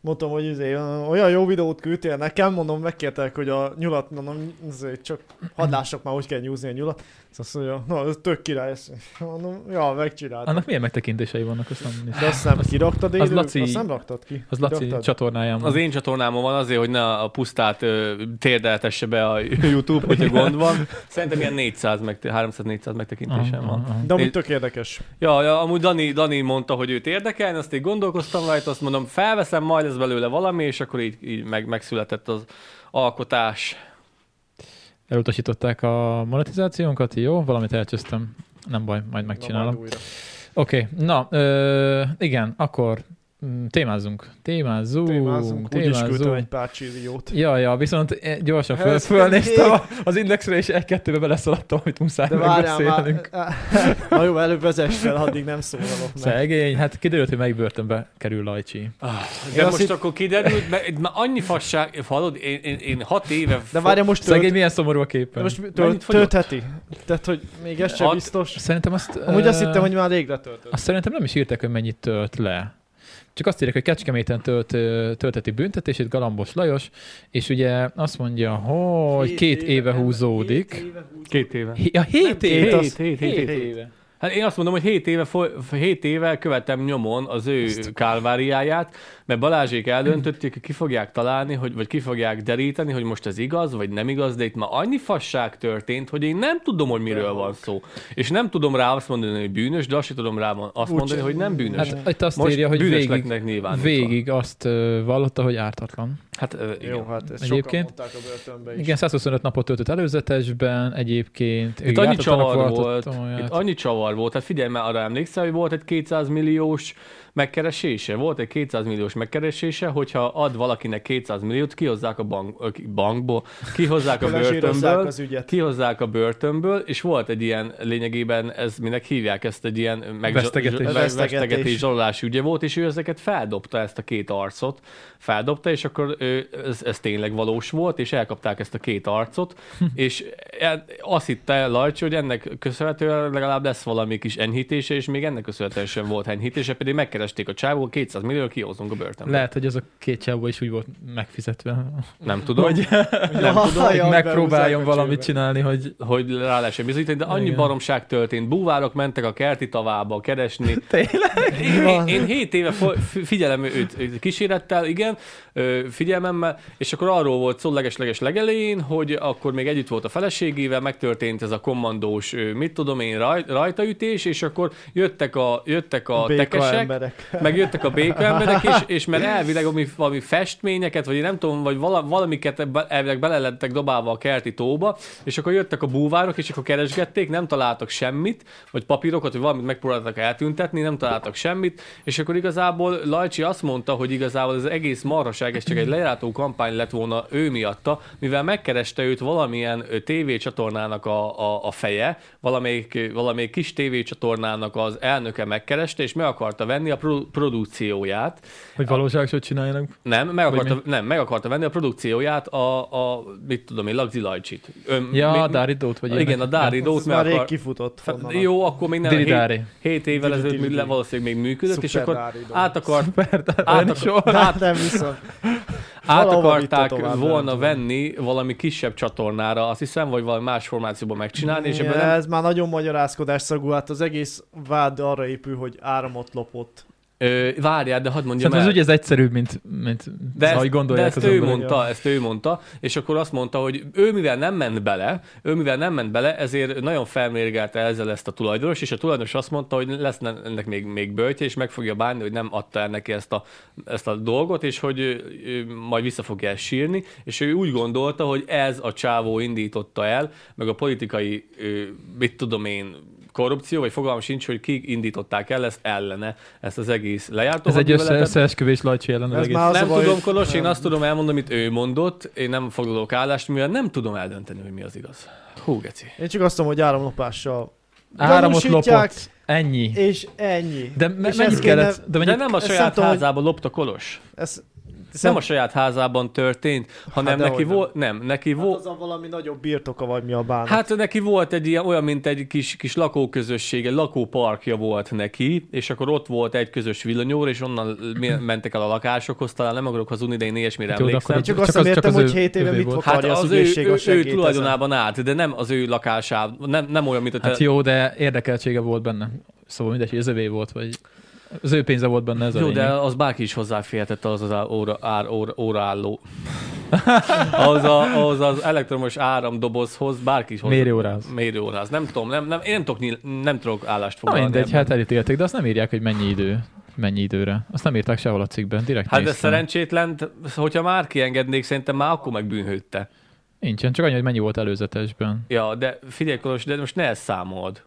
S3: Mondtam, hogy izé, olyan jó videót küldtél nekem, mondom, megkértek, hogy a nyulat, mondom, izé, csak hadd lássak már, hogy kell nyúzni a nyulat. Azt mondja, na, ez tök király, ez. mondom, ja, megcsináltam.
S1: Annak milyen megtekintései vannak, azt nem néztem.
S3: De azt nem kiraktad élő,
S1: az
S3: az
S1: Laci-
S3: azt nem raktad ki.
S1: Az Laci
S3: Kiraktad?
S1: csatornáján van.
S2: Az én csatornámon van azért, hogy ne a pusztát ö, térdeltesse be a YouTube, hogyha gond van. Szerintem ilyen 400 meg, 300-400 megtekintésem van.
S3: De amúgy
S2: Én-
S3: tök érdekes.
S2: Ja, ja, amúgy Dani, Dani mondta, hogy őt érdekelne, azt én gondolkoztam rajta, azt mondom, felveszem, majd lesz belőle valami, és akkor így, így meg, megszületett az alkotás.
S1: Elutasították a monetizációnkat, jó? Valamit elcsöztem. Nem baj, majd
S3: Na,
S1: megcsinálom.
S3: majd újra.
S1: Oké, okay, na, ö, igen, akkor mm, témázzunk. Témázzunk.
S3: Témázunk, úgy is küldtem egy pár csíziót.
S1: Ja, ja, viszont eh, gyorsan föl,
S3: Ez
S1: fölnéztem
S3: pedig-
S1: a- az indexre, és egy-kettőbe beleszaladtam, amit muszáj
S3: De várjál
S1: megbeszélnünk.
S3: már. Na jó, előbb vezess fel, addig nem szólalok meg.
S1: Szegény, hát kiderült, hogy melyik börtönbe kerül Lajcsi.
S2: Ah, De
S3: Én azt
S2: most
S3: hitt-
S2: akkor kiderült, mert itt már annyi fasság, hallod, én, én, én hat éve...
S3: De várjál, most tölt,
S1: Szegény, milyen szomorú a
S3: De
S1: képen.
S3: most
S1: Most...
S3: mi-
S2: Mennyit
S3: tölt,
S2: fogyott?
S3: töltheti? Tehát, hogy még ez sem
S2: Hat-
S3: biztos.
S1: Szerintem azt...
S3: Amúgy
S1: ö,
S3: azt hittem, hogy már rég letöltött.
S1: Azt szerintem nem is írták, hogy mennyit tölt le. Csak azt írják, hogy Kecskeméten tölt, ö, tölteti büntetését Galambos Lajos, és ugye azt mondja, hogy két éve húzódik.
S2: Két éve.
S1: Hé- Ja, hét
S3: Nem,
S1: éve.
S3: hét,
S1: az-
S2: hét, hét, hét.
S1: éve.
S2: Hát én azt mondom, hogy 7 éve, foly- f- 7 éve követem nyomon az ő kálváriáját, mert Balázsék eldöntötték, hogy ki fogják találni, hogy, vagy ki fogják deríteni, hogy most ez igaz, vagy nem igaz, de itt már annyi fasság történt, hogy én nem tudom, hogy miről van szó. És nem tudom rá azt mondani, hogy bűnös, de azt sem tudom rá azt mondani, hogy nem bűnös. Hát,
S1: Hát itt azt
S2: most
S1: írja, hogy végig,
S2: bűnösleknek nyilvánítva.
S1: végig azt ö, vallotta, hogy ártatlan.
S2: Hát ö, igen.
S3: Jó, hát
S1: Egyébként-
S3: ezt Egyébként? sokan mondták a börtönbe is.
S1: Igen, 125 napot töltött előzetesben, egyébként.
S2: Itt
S1: ő
S2: annyi
S1: jártatlanak
S2: csavar volt,
S1: tartottam olyat.
S2: itt annyi csavar volt, hát figyelj már, arra emlékszel, hogy volt egy 200 milliós megkeresése, volt egy 200 milliós megkeresése, hogyha ad valakinek 200 milliót, kihozzák a bank, ö, ki- bankból, kihozzák a
S3: Felesírozzák
S2: börtönből,
S3: az ügyet.
S2: kihozzák a börtönből, és volt egy ilyen lényegében, ez minek hívják ezt egy ilyen meg,
S1: Vesztegetés.
S2: meg-
S3: Vesztegetés.
S2: vesztegetés zsarolás ügye volt, és ő ezeket feldobta, ezt a két arcot, feldobta, és akkor ő, ez, ez tényleg valós volt, és elkapták ezt a két arcot, és el- azt hitte el Lajcsi, hogy ennek köszönhetően legalább lesz valami kis enyhítése, és még ennek köszönhetően sem volt enyhítése, pedig megkeresték a csávó, 200 millió kihozunk a börtönbe.
S1: Lehet, hogy az a két csávó is úgy volt megfizetve,
S2: Nem tudom.
S1: hogy
S3: Nem tudom,
S1: hogy megpróbáljon valamit csinálni, hogy
S2: hogy rá lehessen bizonyítani, de annyi
S1: Igen.
S2: Igen. baromság történt. Búvárok mentek a kerti tavába keresni.
S1: tényleg.
S2: Én, én, én hét éve fo- fi- figyelem őt őt kísérettel, igen, Ö, figyelem férjemmel, és akkor arról volt szó legesleges legelején, hogy akkor még együtt volt a feleségével, megtörtént ez a kommandós, ö, mit tudom én, raj, rajtaütés, és akkor jöttek a, jöttek a
S3: Béka
S2: tekesek,
S3: emberek.
S2: meg jöttek a békaemberek is, és mert elvileg valami, valami festményeket, vagy én nem tudom, vagy vala- valamiket ebbe- elvileg belelettek dobálva a kerti tóba, és akkor jöttek a búvárok, és akkor keresgették, nem találtak semmit, vagy papírokat, vagy valamit megpróbáltak eltüntetni, nem találtak semmit, és akkor igazából Lajcsi azt mondta, hogy igazából ez egész marhaság, ez csak egy lejátó kampány lett volna ő miatta, mivel megkereste őt valamilyen ö, tévécsatornának a, a, a feje, valamelyik, ö, valamelyik kis tévécsatornának az elnöke megkereste, és meg akarta venni a pro- produkcióját,
S1: Hogy valóságot csináljanak.
S2: nem, meg
S1: Vagy
S2: akarta, nem, meg akarta venni a produkcióját, a, a mit tudom én, Lagzi Lajcsit. Ön,
S1: Ja, a
S2: mi,
S1: Dáridót vagy
S2: igen, a Dári Dót
S3: Ez már
S2: meg
S3: rég
S2: akar...
S3: kifutott
S2: Hát,
S3: honnan.
S2: jó, akkor még nem,
S1: Diri
S2: hét,
S1: Dári.
S2: hét évvel
S3: Diri
S2: ezelőtt
S3: Diri
S2: még le- valószínűleg még működött, és
S3: Szuper
S2: akkor
S3: Dári Dót.
S2: át akart, át,
S1: Át,
S2: akar,
S3: Hát,
S2: át,
S3: nem viszont.
S2: át
S3: Valahova
S2: akarták
S3: vitte tovább, nem
S2: volna
S3: tudom.
S2: venni valami kisebb csatornára, azt hiszem, vagy valami más formációban megcsinálni, és
S3: Igen,
S2: ebben nem,
S3: Ez már nagyon magyarázkodás szagú, hát az egész vád arra épül, hogy áramot lopott.
S2: ö, várjál, de hadd mondjam
S1: Szerintem ez
S2: el.
S1: ugye ez egyszerűbb, mint, mint
S2: De ezt,
S1: ahogy
S2: de
S1: gondolják
S2: ezt
S1: az
S2: ő
S1: emberek.
S2: mondta, ezt ő mondta, és akkor azt mondta, hogy ő mivel nem ment bele, ő mivel nem ment bele, ezért nagyon felmérgelte ezzel ezt a tulajdonos, és a tulajdonos azt mondta, hogy lesz ne- ennek még, még böltje, és meg fogja bánni, hogy nem adta el neki ezt a, ezt a dolgot, és hogy ő, ő majd vissza fogja ezt sírni, és ő úgy gondolta, hogy ez a csávó indította el, meg a politikai, ö, mit tudom én, korrupció, vagy fogalmam sincs, hogy kik indították el ezt ellene, ezt az egész lejártó
S1: Ez egy össze,
S2: hadműveletet.
S1: összeesküvés lajcsi ellen az
S3: Ez
S1: egész.
S3: már- Az
S2: nem
S3: a baj,
S2: tudom,
S3: hogy-
S2: Kolos, én
S3: nem.
S2: azt tudom elmondani, amit ő mondott, én nem foglalok állást, mivel nem tudom eldönteni, hogy mi az igaz. Hú, geci.
S3: Én csak azt tudom, hogy áramlopással
S1: Áramot
S3: gyanúsítják,
S1: lopott. Ennyi.
S3: És ennyi.
S1: De me-
S3: és
S1: mennyit
S3: ezt kéne-
S1: kellett? De
S2: De
S1: mennyit
S2: nem a
S3: ezt
S2: saját
S3: nem tudom, hogy-
S2: házában lopta Kolos.
S3: Ez,
S2: Ez nem a saját házában történt, hanem
S3: Hát dehogy
S2: neki
S3: nem.
S2: volt, nem, neki
S3: hát
S2: volt,
S3: az a valami nagyobb birtoka vagy mi a bánat.
S2: Hát neki volt egy ilyen, olyan, mint egy kis, kis lakóközösség, egy lakóparkja volt neki, és akkor ott volt egy közös villanyóra, és onnan mi- mentek el a lakásokhoz, talán nem akarok hazudni, de én ilyesmire
S1: Hát jó, de
S2: emlékszem.
S3: Én
S1: akkor
S3: csak,
S1: Csak
S3: azt
S1: az-
S3: nem
S1: csak
S3: értem,
S1: az ő-
S3: hogy hét éve
S1: ővé
S3: mit
S1: volt.
S2: Hát
S3: vakarja az,
S2: az ő,
S3: ügyészség,
S2: ő,
S3: a
S2: ő, ő
S3: segéd ezen.
S2: tulajdonában állt, de nem az ő lakásában, nem, nem olyan, mint a te,
S1: Hát jó, de érdekeltsége volt benne. Szóval mindegy, hogy ez övé volt, vagy az ő pénze volt benne ez a
S2: Jó, de
S1: lényeg.
S2: az bárki is hozzáférhetett az az á- óra, ár, óra, óraálló. az, a, az az elektromos áramdobozhoz bárki is hozzá.
S1: Mérőórához.
S2: Mérőórához. Nem tudom, nem, nem, én nem tudok, nyil- nem tudok állást
S1: Na
S2: foglalni.
S1: mindegy,
S2: ebben.
S1: hát elítélték, de azt nem írják, hogy mennyi idő, mennyi időre. Azt nem írták sehol a cikkben, direkt
S2: Hát de
S1: néztem.
S2: szerencsétlen, hogyha már kiengednék, szerintem már akkor megbűnhődte.
S1: Nincsen, csak annyi, hogy mennyi volt előzetesben.
S2: Ja, de figyelj, Kolos, de most ne ezt számold.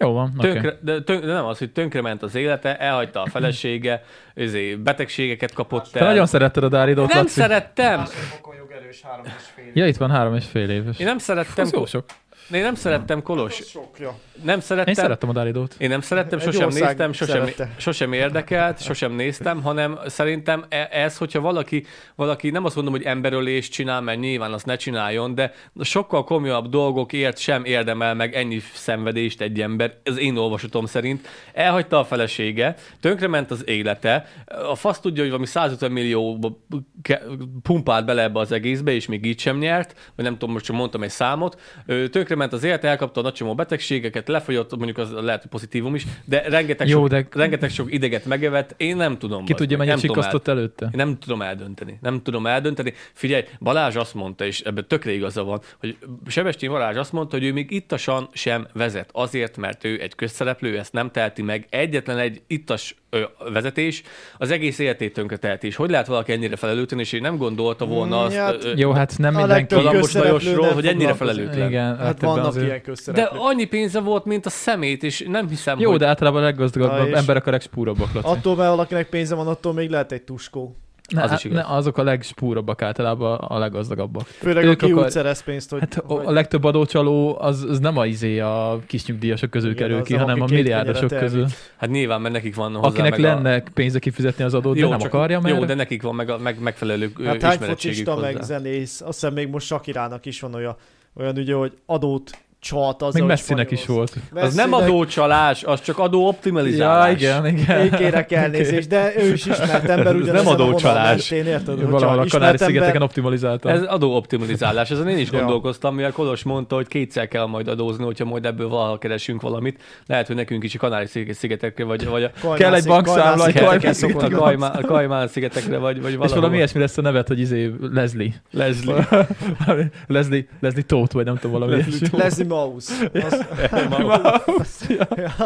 S1: Jó van, oké.
S2: Tönkre, okay. de, tönk, de nem az, hogy tönkrement az élete, elhagyta a felesége, izé, betegségeket kapott
S1: Te
S2: el.
S1: nagyon szeretted a Dáridót,
S2: nem
S1: Laci.
S2: szerettem!
S3: Másodfokon jogerős három és fél.
S1: Ja, itt van három és fél éves. Én
S2: Én nem szerettem,
S1: nem jó
S2: Ko-
S1: sok.
S2: én nem szerettem Kolos.
S3: Sokja.
S2: Nem szerettem.
S1: Én szerettem a Dáridót.
S2: Én nem szerettem,
S3: Egy
S2: sosem
S3: ország
S2: néztem, sosem,
S3: szerette.
S2: sosem érdekelt, sosem néztem, hanem szerintem e- ez, hogyha valaki, valaki nem azt mondom, hogy emberölést csinál, mert nyilván azt ne csináljon, de sokkal komolyabb dolgokért sem érdemel meg ennyi szenvedést egy ember, ez én olvasatom szerint. Elhagyta a felesége, tönkrement az élete, a fasz tudja, hogy valami 150 millió pumpált bele ebbe az egészbe, és még így sem nyert, vagy nem tudom, most csak mondtam egy számot, Ö, tönkrement az élet, elkapta a nagycsomó betegségeket, lefogyott, mondjuk az lehet hogy pozitívum is, de rengeteg,
S1: Jó,
S2: sok,
S1: de-
S2: rengeteg sok ideget megevett, én nem tudom.
S1: Ki
S2: bazd
S1: tudja,
S2: meg,
S1: mennyit
S2: nem tudom hát- el-
S1: sikasztott előtte?
S2: én nem tudom eldönteni. Nem tudom eldönteni. Figyelj, Balázs azt mondta, és ebben tökre igaza van, hogy Sebestyén Balázs azt mondta, hogy ő még ittasan sem vezet. Azért, mert ő egy közszereplő, ezt nem teheti meg. Egyetlen egy ittas ö, vezetés az egész életét tönkre teheti. És hogy lehet valaki ennyire felelőtlen, és én nem gondolta volna
S3: Mm,
S2: azt,
S3: hát,
S2: ö, ö,
S1: Jó, hát nem
S3: A
S1: mindenki.
S3: legtöbb
S2: Galambos
S3: közszereplő
S2: Lajosról,
S3: nem
S2: hogy ennyire
S3: foglalkozik.
S2: felelőtlen.
S1: Igen,
S3: Hát
S1: legtöbben
S3: vannak
S1: azért-
S3: ilyen
S2: de
S3: közszereplők.
S2: annyi pénze volt, mint a szemét, és nem hiszem,
S1: Jó,
S2: hogy...
S1: de általában a
S3: Na
S1: leggazdagabb
S3: és-
S1: emberek a legspúrabbak, Laci.
S3: Attól, mert valakinek pénze van, attól még lehet egy tuskó.
S1: Ne,
S2: Az
S1: az
S2: is igaz.
S1: ne, azok a legspúrabbak általában a leggazdagabbak.
S3: Főleg
S1: Ők
S3: aki akar...
S1: akar-
S3: úgy szerez pénzt, hogy...
S1: Hát a,
S3: hogy-
S1: a legtöbb adócsaló az, az nem a izé a kis nyugdíjasok közül
S3: Igen,
S1: Igen, kerül
S3: az
S1: ki,
S3: a,
S1: hanem a
S3: aki két
S1: milliárdosok
S3: kenyeret
S1: közül.
S2: Hát nyilván, mert nekik van hozzá
S1: Akinek
S2: meg a-
S1: lenne pénze kifizetni az adót, de nem
S2: csak-
S1: akarja, mert
S2: Jó, de nekik van meg, a, meg megfelelő ö,
S3: Hát hány
S2: ismerettségük
S3: focista,
S2: hozzá.
S3: meg zenész, azt hiszem még most Sakirának is van olyan, olyan ugye, hogy adót csalt az,
S1: Még
S3: ahogy
S1: messzinek is
S3: spanyolsz.
S1: volt.
S2: Az nem
S3: Messzinek-
S2: adócsalás, az csak
S1: Ja,
S2: adóoptimalizálás.
S1: igen,
S3: Én
S1: igen.
S3: kérek elnézést, de ő is ismert ember,
S2: Ez
S3: ugyanezen
S2: nem
S3: a vonal
S2: adócsalás.
S3: mentén, érted? Hogyha
S1: Valahol a
S3: ismert
S1: Kanári-szigeteken
S3: ember-
S1: optimalizáltam.
S2: Ez adóoptimalizálás, ezen én is
S3: Ja.
S2: gondolkoztam, mivel Kolos mondta, hogy kétszer kell majd adózni, hogyha majd ebből valaha keresünk valamit. Lehet, hogy nekünk is a Kanári-szigetekre, vagy, vagy a
S3: Kajmán
S1: Kell egy
S3: szi-
S1: bankszámla,
S3: Kajmán
S1: egy Kajmán
S3: szigeteken
S2: a
S3: szokott
S1: szigetek.
S3: gondolni.
S2: Kajmán, a Kajmán szigetekre, vagy, vagy
S1: És valami
S2: valahol.
S1: ilyesmi lesz a nevet, hogy izé Leslie.
S2: Leslie.
S1: Leslie, Leslie Tóth, vagy nem tudom, valami
S2: Leslie
S1: ilyesmi.
S3: Leslie Mouse. Az,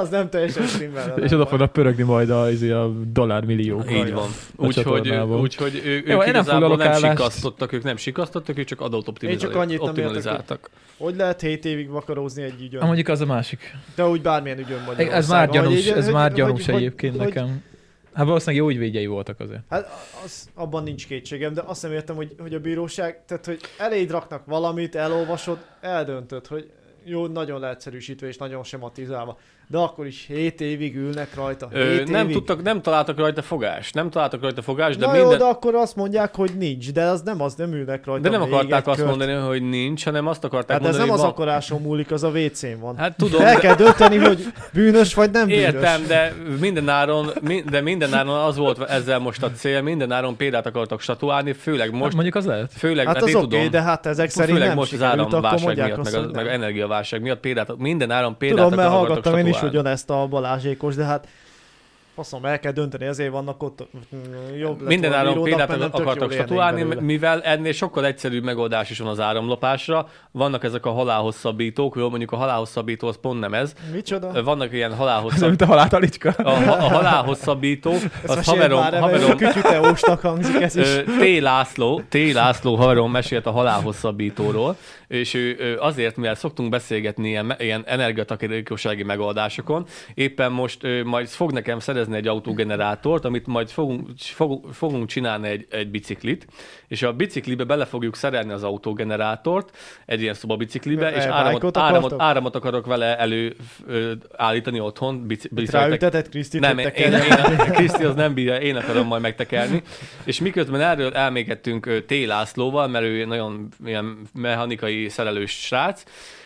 S3: az nem teljesen stimmel.
S1: És oda fognak pörögni majd a, izé, a dollármillió.
S2: Így van.
S1: A
S2: Úgyhogy
S1: csatornából.
S2: úgy, hogy ő, ők
S1: én nem
S2: igazából
S1: foglalok
S2: nem
S1: állást.
S2: sikasztottak, ők nem sikasztottak, ők csak adót
S3: Én csak annyit nem
S2: optimalizáltak.
S3: Hogy lehet 7 évig vakarózni egy ügyön?
S1: Na, mondjuk az a másik.
S3: De úgy bármilyen ügyön Magyarországon.
S1: Ez már
S3: Vagy
S1: gyanús,
S3: így-
S1: ez
S3: hogy-
S1: már
S3: hogy-
S1: gyanús
S3: hogy-
S1: egyébként
S3: hogy-
S1: nekem. Hát valószínűleg jó ügyvédjei voltak azért.
S3: Hát az, abban nincs kétségem, de azt nem értem, hogy, hogy a bíróság, tehát hogy eléd raknak valamit, elolvasod, eldöntöd, hogy jó, nagyon leegyszerűsítve és nagyon sematizálva. De akkor is 7 évig ülnek rajta.
S2: Ö,
S3: Hét
S2: nem
S3: évig.
S2: tudtak, nem találtak rajta fogást, nem találtak rajta fogást, de
S3: Na
S2: minden...
S3: jó, de akkor azt mondják, hogy nincs, de az nem az, nem ülnek rajta.
S2: De nem
S3: még
S2: akarták
S3: egy
S2: azt
S3: kört.
S2: mondani, hogy nincs, hanem azt akarták
S3: Hát ez
S2: mondani,
S3: nem az
S2: hogy van...
S3: akaráson múlik, az a WC-n van.
S2: Hát tudom,
S3: El
S2: de...
S3: kell dönteni, hogy bűnös vagy nem bűnös.
S2: Értem, de mindenáron, mi- de mindenáron az volt ezzel most a cél, mindenáron példát akartak statuálni, főleg
S1: Most
S2: most,
S1: mondjuk az lehet.
S2: főleg,
S3: Hát
S2: hát
S3: az
S2: én
S3: oké,
S2: tudom,
S3: okay, de hát ezek szerint
S2: főleg
S3: nem
S2: most az
S3: sikerült, akkor
S2: áramválság
S3: mondják
S2: miatt,
S3: azt,
S2: meg,
S3: hogy
S2: az, meg
S3: nem.
S2: energiaválság miatt példát, mindenáron példát
S3: Tudom, mert
S2: akartak
S3: hallgattam én is
S2: statuálni.
S3: ugyanezt a Balázsékos, de hát faszom, el kell dönteni, ezért vannak ott mm, jobb lett
S2: Minden
S3: volna
S2: áron példát
S3: bírónak, mert nem tök jól
S2: akartak
S3: élnénk
S2: statuálni,
S3: belőle.
S2: mivel ennél sokkal egyszerűbb megoldás is van az áramlopásra. Vannak ezek a halálhosszabbítók, jó, mondjuk a halálhosszabbító az pont nem ez.
S3: Micsoda?
S2: Vannak ilyen
S1: Ez
S2: halálhosszabb...
S1: mint a haláltalicska.
S2: A, ha- a halálhosszabbító, az
S3: Ezt haverom,
S2: haverom,
S3: már, haverom.
S2: haverom,
S3: Kütyüteósnak hangzik ez is.
S2: Ö, T. László, T. László haverom mesélt a halálhosszabbítóról, és ő ö, azért, mivel szoktunk beszélgetni ilyen, ilyen energiatakarékossági megoldásokon, éppen most ö, majd fog nekem szerezni egy autógenerátort, amit majd fogunk, fogunk, fogunk csinálni egy, egy biciklit, és a biciklibe bele fogjuk szerelni az autógenerátort, egy ilyen szobabiciklibe, és
S3: E,
S2: áramot,
S3: bike-ot
S2: áramot,
S3: akartok?
S2: áramot akarok vele elő ö, állítani otthon, bici, bicikletek
S3: Ráütetett Krisztit,
S2: nem,
S3: hogy
S2: én,
S3: te
S2: én,
S3: kell.
S2: én, Kriszti az nem bírja, én akarom majd megtekerni. És miközben erről elmégettünk ö, T. Lászlóval, mert ő nagyon ilyen mechanikai szerelős srác,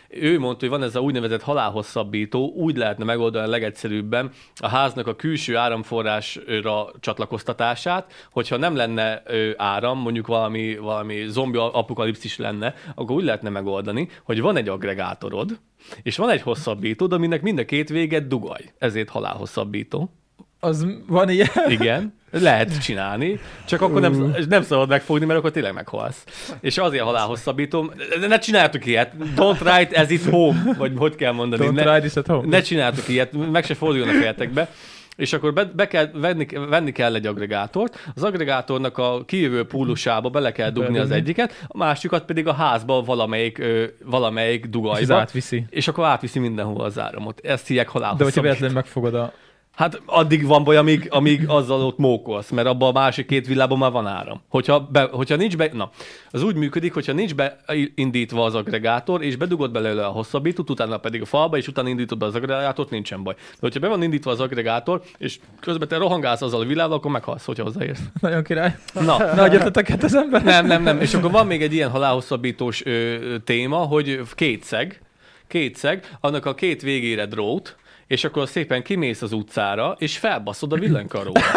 S2: ő mondta, hogy van ez a úgynevezett halálhosszabbító, úgy lehetne megoldani a legegyszerűbben a háznak a külső áramforrásra csatlakoztatását, hogyha nem lenne ö, áram, mondjuk valami, valami zombi apokalipszis lenne, akkor úgy lehetne megoldani, hogy van egy agregátorod, és van egy hosszabbítód, aminek mind a két véget dugaj. Ezért halálhosszabbító.
S1: Az van ilyen.
S2: Igen, lehet csinálni, csak akkor nem, nem szabad megfogni, mert akkor tényleg meghalsz. És azért halálhosszabbítom, de ne csináljátok ilyet, don't write as it home, vagy hogy kell mondani.
S1: Don't
S2: ne,
S1: ride this at home.
S2: ne csináltuk ilyet, meg se forduljon a fejetekbe. És akkor be, be kell, venni, venni kell egy agregátort, az agregátornak a kijövő púlusába bele kell dugni az
S1: Beledugni.
S2: egyiket, a másikat pedig a házba valamelyik, ö, valamelyik
S1: És ez
S2: dugajba,
S1: átviszi.
S2: és akkor átviszi mindenhol az áramot. Ezt hívják
S1: De hogyha
S2: halálhosszabbító.
S1: véletlenül megfogod a...
S2: Hát addig van baj, amíg, amíg azzal ott mókolsz, mert abban a másik két villában már van áram. Hogyha, be, hogyha nincs be, na, az úgy működik, hogyha nincs beindítva az agregátor, és bedugod belőle a hosszabbítót, utána pedig a falba, és utána indítod be az agregátort, nincsen baj. De hogyha be van indítva az agregátor, és közben te rohangálsz azzal a villával, akkor meghalsz, hogyha hozzáérsz.
S1: Nagyon király.
S2: Na,
S1: Ne agyatateket az ember.
S2: nem, nem, nem. És akkor van még egy ilyen halálhosszabbítós ö, ö, téma, hogy kétszeg, kétszeg, annak a két végére drót, és akkor szépen kimész az utcára, és felbaszod a villanykarót.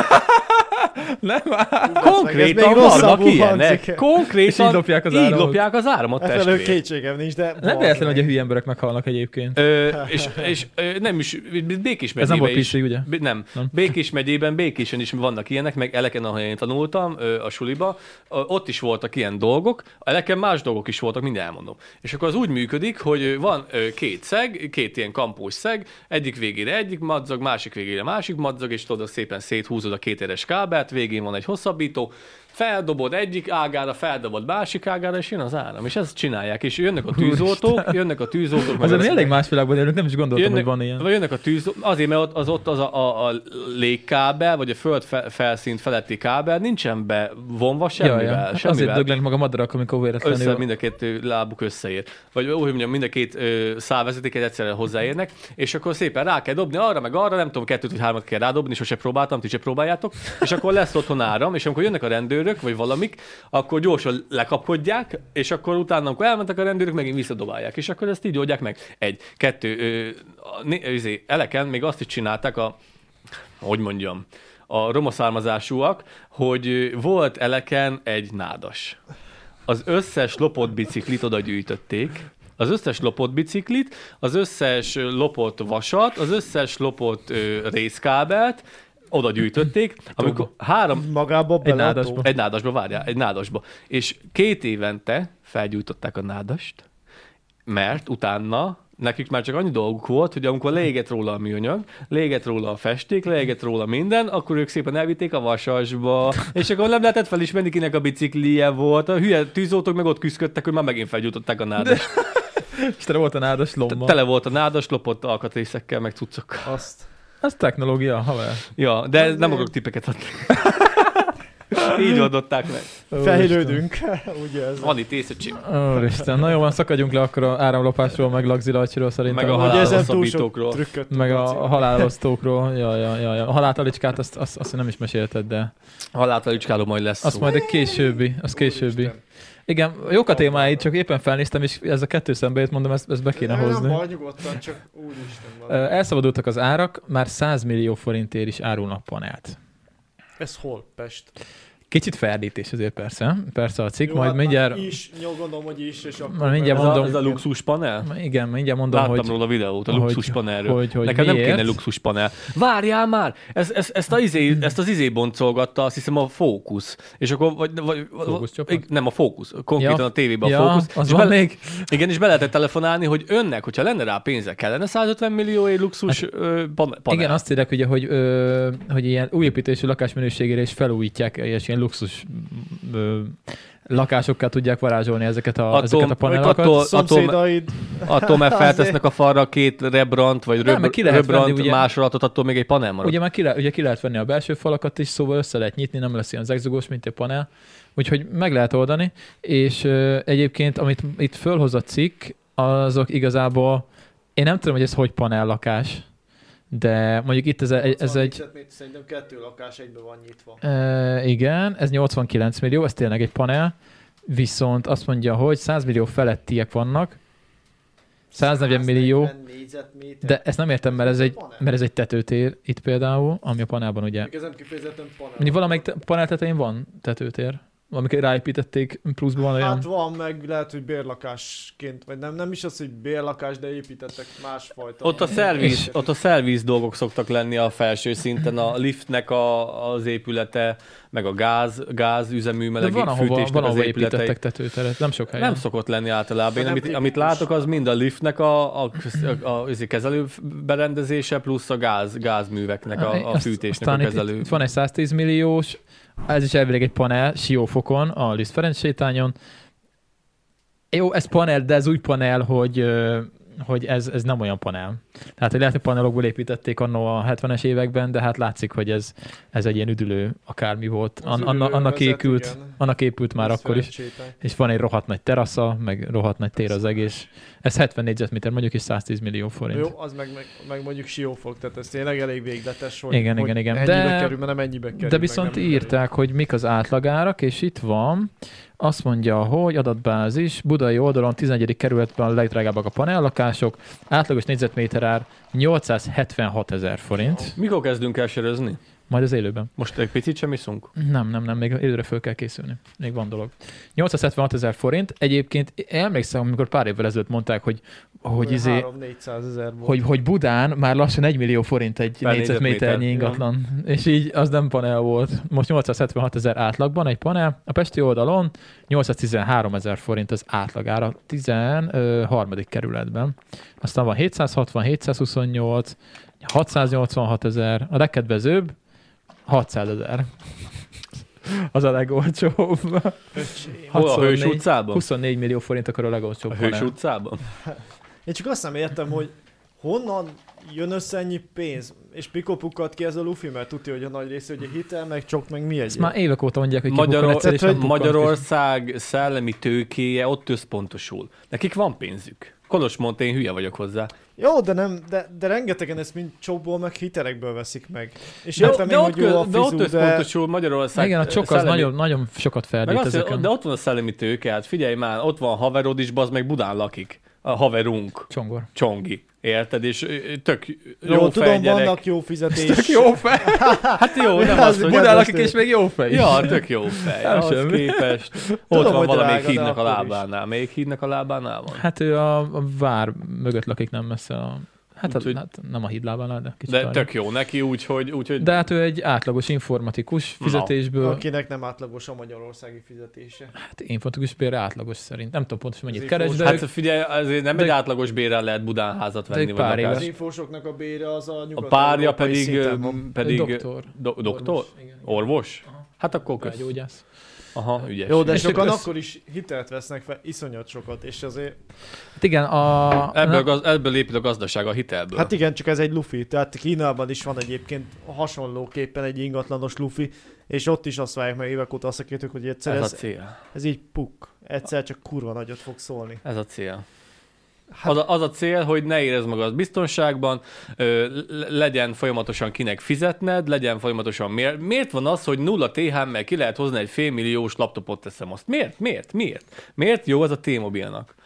S1: Nem, áll.
S3: ez
S2: Konkrétan
S3: még rosszabbul
S2: vannak
S3: hangzik.
S2: ilyenek.
S1: És így
S2: Konkrétan
S1: lopják az
S2: így
S1: áramot.
S2: lopják az áramot,
S3: Efelől
S2: testvér.
S3: E kétségem nincs, de...
S1: Nem
S3: bazd
S1: véletlen,
S3: meg.
S1: hogy a hülye emberek meghalnak egyébként.
S2: Ö, és, és ö, nem is, békés
S1: Ez nem volt
S2: is.
S1: PC, ugye?
S2: B- nem.
S1: Nem.
S2: Békés megyében, Békésen is vannak ilyenek, meg Eleken, ahol én tanultam, ö, a suliba, ö, ott is voltak ilyen dolgok, Eleken más dolgok is voltak, mindjárt elmondom. És akkor az úgy működik, hogy ö, van ö, két szeg, két ilyen kampós szeg, egyik végére egyik madzag, másik végére másik madzag, és tudod, szépen széthúzod a két éres kábelt, végén van egy hosszabbító, feldobod egyik ágára, feldobod másik ágára, és jön az áram. És ezt csinálják, és jönnek a tűzoltók, jönnek a tűzoltók. meg
S1: Azért mi
S2: ezek-
S1: elég más világban élünk, nem is gondoltam, hogy
S2: Jönnek,
S1: van ilyen.
S2: vagy jönnek a tűz, azért, mert ott, az ott az a, a, a légkábel, vagy a föld fe- felszínt feletti kábel nincsen bevonva semmivel.
S1: Jaj, jaj. Hát Azért
S2: semmivel.
S1: döglenek maga madarak, amikor
S2: Össze,
S1: véletlenül...
S2: mind a két ö, lábuk összeér. Vagy úgy mondjam, mind a két ö, szálvezetéket egyszerre hozzáérnek, és akkor szépen rá kell dobni arra, meg arra, nem tudom, kettőt vagy hármat kell rádobni, sose próbáltam, ti se próbáljátok, és akkor akkor lesz otthon áram, és amikor jönnek a rendőrök, vagy valamik, akkor gyorsan lekapkodják, és akkor utána, amikor elmentek a rendőrök, megint visszadobálják. És akkor ezt így oldják meg. Egy, kettő, ö, a, né, ö, izé, eleken még azt is csinálták a, hogy mondjam, a roma származásúak, hogy ö, volt eleken egy nádas. Az összes lopott biciklit oda gyűjtötték, az összes lopott biciklit, az összes ö, lopott vasat, az összes lopott ö, részkábelt, oda gyűjtötték, amikor három,
S3: Magába belátó.
S1: nádasba.
S2: egy nádasba, várjál, egy nádasba. És két évente felgyújtották a nádast, mert utána nekik már csak annyi dolguk volt, hogy amikor leégett róla a műanyag, leégett róla a festék, leégett róla minden, akkor ők szépen elvitték a vasasba, és akkor nem lehetett felismerni, kinek a biciklije volt. A hülye tűzoltók meg ott küzdöttek, hogy már megint felgyújtották a nádast.
S1: És tele volt a nádas lomba.
S2: Tele volt a nádas, lopott alkatrészekkel, meg cuccokkal.
S3: Azt.
S1: Ez technológia, haver.
S2: Ja, de nem akarok tippeket adni. Így oldották meg.
S3: Fejlődünk. Ugye ez.
S2: Van itt észöcsém.
S1: Úristen, na jó, van, szakadjunk le akkor a áramlopásról, meg lagzilajcsiról szerintem.
S2: Meg a
S3: Ugye ezen túl sok
S2: haláloszabítókról.
S3: trükköt.
S1: meg a halálosztókról, ja, ja, ja, ja. A haláltalicskát azt, azt, azt nem is mesélted, de
S2: Haláltalicskáló majd lesz szóval.
S1: azt
S2: szó.
S1: majd egy későbbi, az későbbi. Igen, jók a témáid, csak éppen felnéztem, és ez a kettő szembe jött, mondom, ezt, ezt be kéne
S3: Nem, Nem
S1: hozni.
S3: baj, nyugodtan, csak úristen
S1: Ö,
S3: van.
S1: Elszabadultak az árak, már 100 millió forintért is árulnak panelt.
S3: Ez hol? Pest.
S1: Kicsit ferdítés azért persze, persze a cikk,
S3: Jó,
S1: majd
S3: hát
S1: mindjárt,
S3: Is, nyom, gondolom, hogy is, és akkor...
S1: Majd mindjárt
S2: Ez,
S1: mondom.
S2: a, ez a luxus panel?
S1: igen, mindjárt mondom,
S2: Láttam
S1: hogy
S2: róla videót, a
S1: hogy-
S2: luxus panelről.
S1: hogy- hogy
S2: Nekem nem
S1: miért?
S2: kéne luxus panel. Várjál már! Ez, ez, ezt, a izé, ezt az izé boncolgatta, azt hiszem a Focus. És akkor, vagy, vagy
S1: Focus csapat?
S2: vagy- nem a Focus, konkrétan
S1: Ja.
S2: a tévében
S1: Ja,
S2: a Focus.
S1: az
S2: és
S1: van
S2: bele-
S1: még?
S2: Igen, és be lehetett telefonálni, hogy önnek, hogyha lenne rá pénze, kellene 150 millió egy luxus hát, panel.
S1: Igen, azt írják, ugye, hogy, ö, hogy ilyen új építésű lakás minőségére is felújítják, és ilyen luxus ö, lakásokkal tudják varázsolni ezeket a,
S2: Atom-
S1: ezeket a panelakat.
S2: attól-
S1: Attól,
S3: Szomszédaid.
S2: Attól, mert feltesznek a falra két Rembrandt, vagy
S1: Nem, mert
S2: Röb-
S1: ki lehet venni,
S2: Rembrandt
S1: ugye-
S2: másolatot, attól még egy panel marad.
S1: ugye már ki, le, ugye ki lehet venni a belső falakat is, szóval össze lehet nyitni, nem lesz ilyen zegzugós, mint egy panel. Úgyhogy meg lehet oldani, és ö, egyébként, amit itt fölhoz a cikk, azok igazából, én nem tudom, hogy ez hogy panel lakás, de mondjuk itt ez, egy- ez egy,
S3: Szerintem kettő lakás egyben van nyitva.
S1: E, igen, ez 89 millió, ez tényleg egy panel, viszont azt mondja, hogy 100 millió felettiek vannak, 140 millió,
S3: 140 négyzetméter.
S1: de ezt nem értem, mert ez egy,
S3: Panel.
S1: mert ez egy tetőtér itt például, ami a panelban ugye.
S3: Még ez nem kifejezetten panel.
S1: Mondjuk valamelyik te- panel tetején van tetőtér, amikor ráépítették, pluszban van olyan.
S3: Hát van, meg lehet, hogy bérlakásként, vagy nem, nem is az, hogy bérlakás, de építettek másfajta.
S2: Ott a, szerviz,
S1: És-
S2: ott a szerviz dolgok szoktak lenni a felső szinten, a liftnek a, az épülete, meg a gáz, gázüzemű,
S1: de
S2: meleg
S1: van, ahova,
S2: fűtésnek
S1: van,
S2: az
S1: ahova
S2: épülete.
S1: építettek tetőteret, nem sok helyen.
S2: Nem szokott lenni általában. Én,
S3: Nem
S2: amit, amit
S3: tipikus.
S2: látok, az mind a liftnek a, a, a, a, a kezelő berendezése, plusz a gáz, gázműveknek a, a
S1: Azt-
S2: fűtésnek a
S1: aztán itt-
S2: kezelő.
S1: Itt, van egy 110 milliós, ez is elvileg egy panel, Siófokon, a Liszt Ferenc sétányon. Jó, ez panel, de ez úgy panel, hogy, ö, hogy ez, ez nem olyan panel. Tehát, hogy lehet, hogy panelokból építették annó a 70-es években, de hát látszik, hogy ez, ez egy ilyen üdülő akármi volt.
S3: Az
S1: An,
S3: üdülő
S1: anna, annak,
S3: vezet,
S1: épült,
S3: igen.
S1: annak épült már
S3: Ezt
S1: akkor is.
S3: szerencsétek.
S1: És van egy rohadt nagy terasza, meg rohadt nagy tér az egész. Ez 70 négyzetméter, mondjuk is 110 millió forint.
S3: Jó, az meg, meg, meg mondjuk siófok, tehát ez tényleg elég végletes, hogy,
S1: Igen,
S3: hogy
S1: igen, igen.
S3: ennyibe
S1: De-
S3: kerül, mert nem ennyibe kerül.
S1: De
S3: meg
S1: viszont
S3: nem kerül.
S1: írták, hogy mik az átlagárak, és itt van, azt mondja, hogy adatbázis, budai oldalon 11. kerületben a legdrágábbak a panellakások, átlagos négyzetméter ár 876 ezer forint,
S2: Mikor kezdünk el sörözni?
S1: majd az élőben.
S2: Most egy picit sem iszunk?
S1: Nem, nem, nem, még élőre föl kell készülni. Még van dolog. 876 ezer forint, egyébként emlékszem, amikor pár évvel ezelőtt mondták, hogy, hogy,
S3: Olyan
S1: izé,
S3: 3-400 ezer volt.
S1: hogy, hogy Budán már lassan 1 millió forint egy
S2: Per
S1: négyzetméternyi
S2: négyzetméter,
S1: ingatlan. És így az nem panel volt. Most 876 ezer átlagban egy panel, a Pesti oldalon 813 ezer forint az átlagára 13. kerületben. Aztán van 760, 728, 686 ezer, a legkedvezőbb 600 ezer. Az a legolcsóbb.
S3: Öcsém.
S2: Hol a Hős
S1: 24
S2: utcában?
S1: 24 millió forint akkor a legolcsóbb
S2: A Hős
S1: panel.
S2: utcában?
S3: Én csak azt nem értem, hogy honnan jön össze ennyi pénz, és pikopukkat ki ez a lufi, mert tudja, hogy a nagy része ugye hitel, meg csok, meg mi egy.
S1: Ezt már évek óta mondják, hogy
S2: Magyaror-
S1: kibukkan egyszer, és nem bukkant, és-
S2: Magyarország szellemi tőkéje ott összpontosul. Nekik van pénzük. Kolos mondta, én hülye vagyok hozzá.
S3: Jó, de nem, de, de rengetegen ezt mind csóból meg hitelekből veszik meg. És
S2: De,
S3: értem
S2: de,
S3: én, hogy
S2: ott,
S3: jó a
S2: köz, de
S3: fizú,
S2: ott
S3: de...
S2: összpontosul Magyarország
S1: Igen, a csok az
S2: szellemi-
S1: nagyon, nagyon sokat
S2: Meg
S1: feldít
S2: azt, hogy-
S1: ezeken.
S2: de ott van a szellemi tőke, hát figyelj már, ott van haverod is, bazd meg Budán lakik. A haverunk,
S1: Csongor.
S2: Csongi. Érted? És ö, tök jó,
S3: Jó, tudom,
S2: gyerek.
S3: vannak jó fizetés.
S1: Tök jó fej.
S2: Hát jó, nem
S3: Az
S2: az, hogy
S3: Budán
S1: Budán
S3: kedves
S1: lakik
S3: tőle.
S1: és még jó fej.
S2: Ja, tök jó fej.
S1: Nem
S2: Nem az
S1: semmi.
S2: képest. Ott
S3: Tudom,
S2: van
S3: hogy
S2: valamelyik
S3: drága, de
S2: hídnak a
S3: akkor is.
S2: lábánál. Melyik hídnak a lábánál van?
S1: Hát ő a a vár mögött lakik nem messze a... Hát, a,
S2: Úgyhogy-
S1: hát nem a hídlábánál, de kicsit
S2: De
S1: arra.
S2: tök jó neki, úgyhogy... úgyhogy
S1: De hát ő egy átlagos informatikus
S2: Na.
S1: fizetésből, okay.
S3: Akinek nem átlagos a magyarországi fizetése.
S1: hát informatikus bérre átlagos szerint. Nem tudom pontosan mennyit
S3: Az
S1: keres,
S3: infós-
S1: de,
S2: hát
S1: ők,
S2: figyelj, azért nem
S1: de-
S2: egy átlagos bérrel lehet Budán házat
S1: de
S2: venni.
S1: egy
S2: vagy
S1: pár
S2: akár-
S1: éves.
S3: Az infósoknak a bére az a
S2: A
S3: nyugat
S2: Hát. párja pedig... ö,
S1: pedig
S2: pedig
S1: doktor.
S2: Do- doktor?
S1: Orvos. Igen, igen.
S2: Orvos? Hát akkor kösz.
S1: Belgyógyász.
S2: Aha, ügyes.
S3: Jó, de
S1: És
S3: sokan
S1: össz-
S3: akkor is hitelt vesznek fel, iszonyat sokat, és azért...
S1: Hát igen, a...
S2: Ebből, gaz, ebből épül a gazdaság a hitelből.
S3: Hát igen, csak ez egy lufi. Tehát Kínában is van egyébként hasonlóképpen egy ingatlanos lufi, és ott is azt várják meg évek óta azt a kétük, hogy egyszer
S2: ez a
S3: szóval ez,
S2: cél.
S3: ez így puk. Egyszer csak kurva nagyot fog szólni.
S2: Ez a cél.
S3: Hát-
S2: Az a, az a cél, hogy ne érezd magad biztonságban, ö, le- legyen folyamatosan kinek fizetned, legyen folyamatosan miért. Miért van az, hogy nulla THM-mel ki lehet hozni egy félmilliós laptopot teszem azt? Miért? Miért? Miért? Miért jó az a T-mobilnak?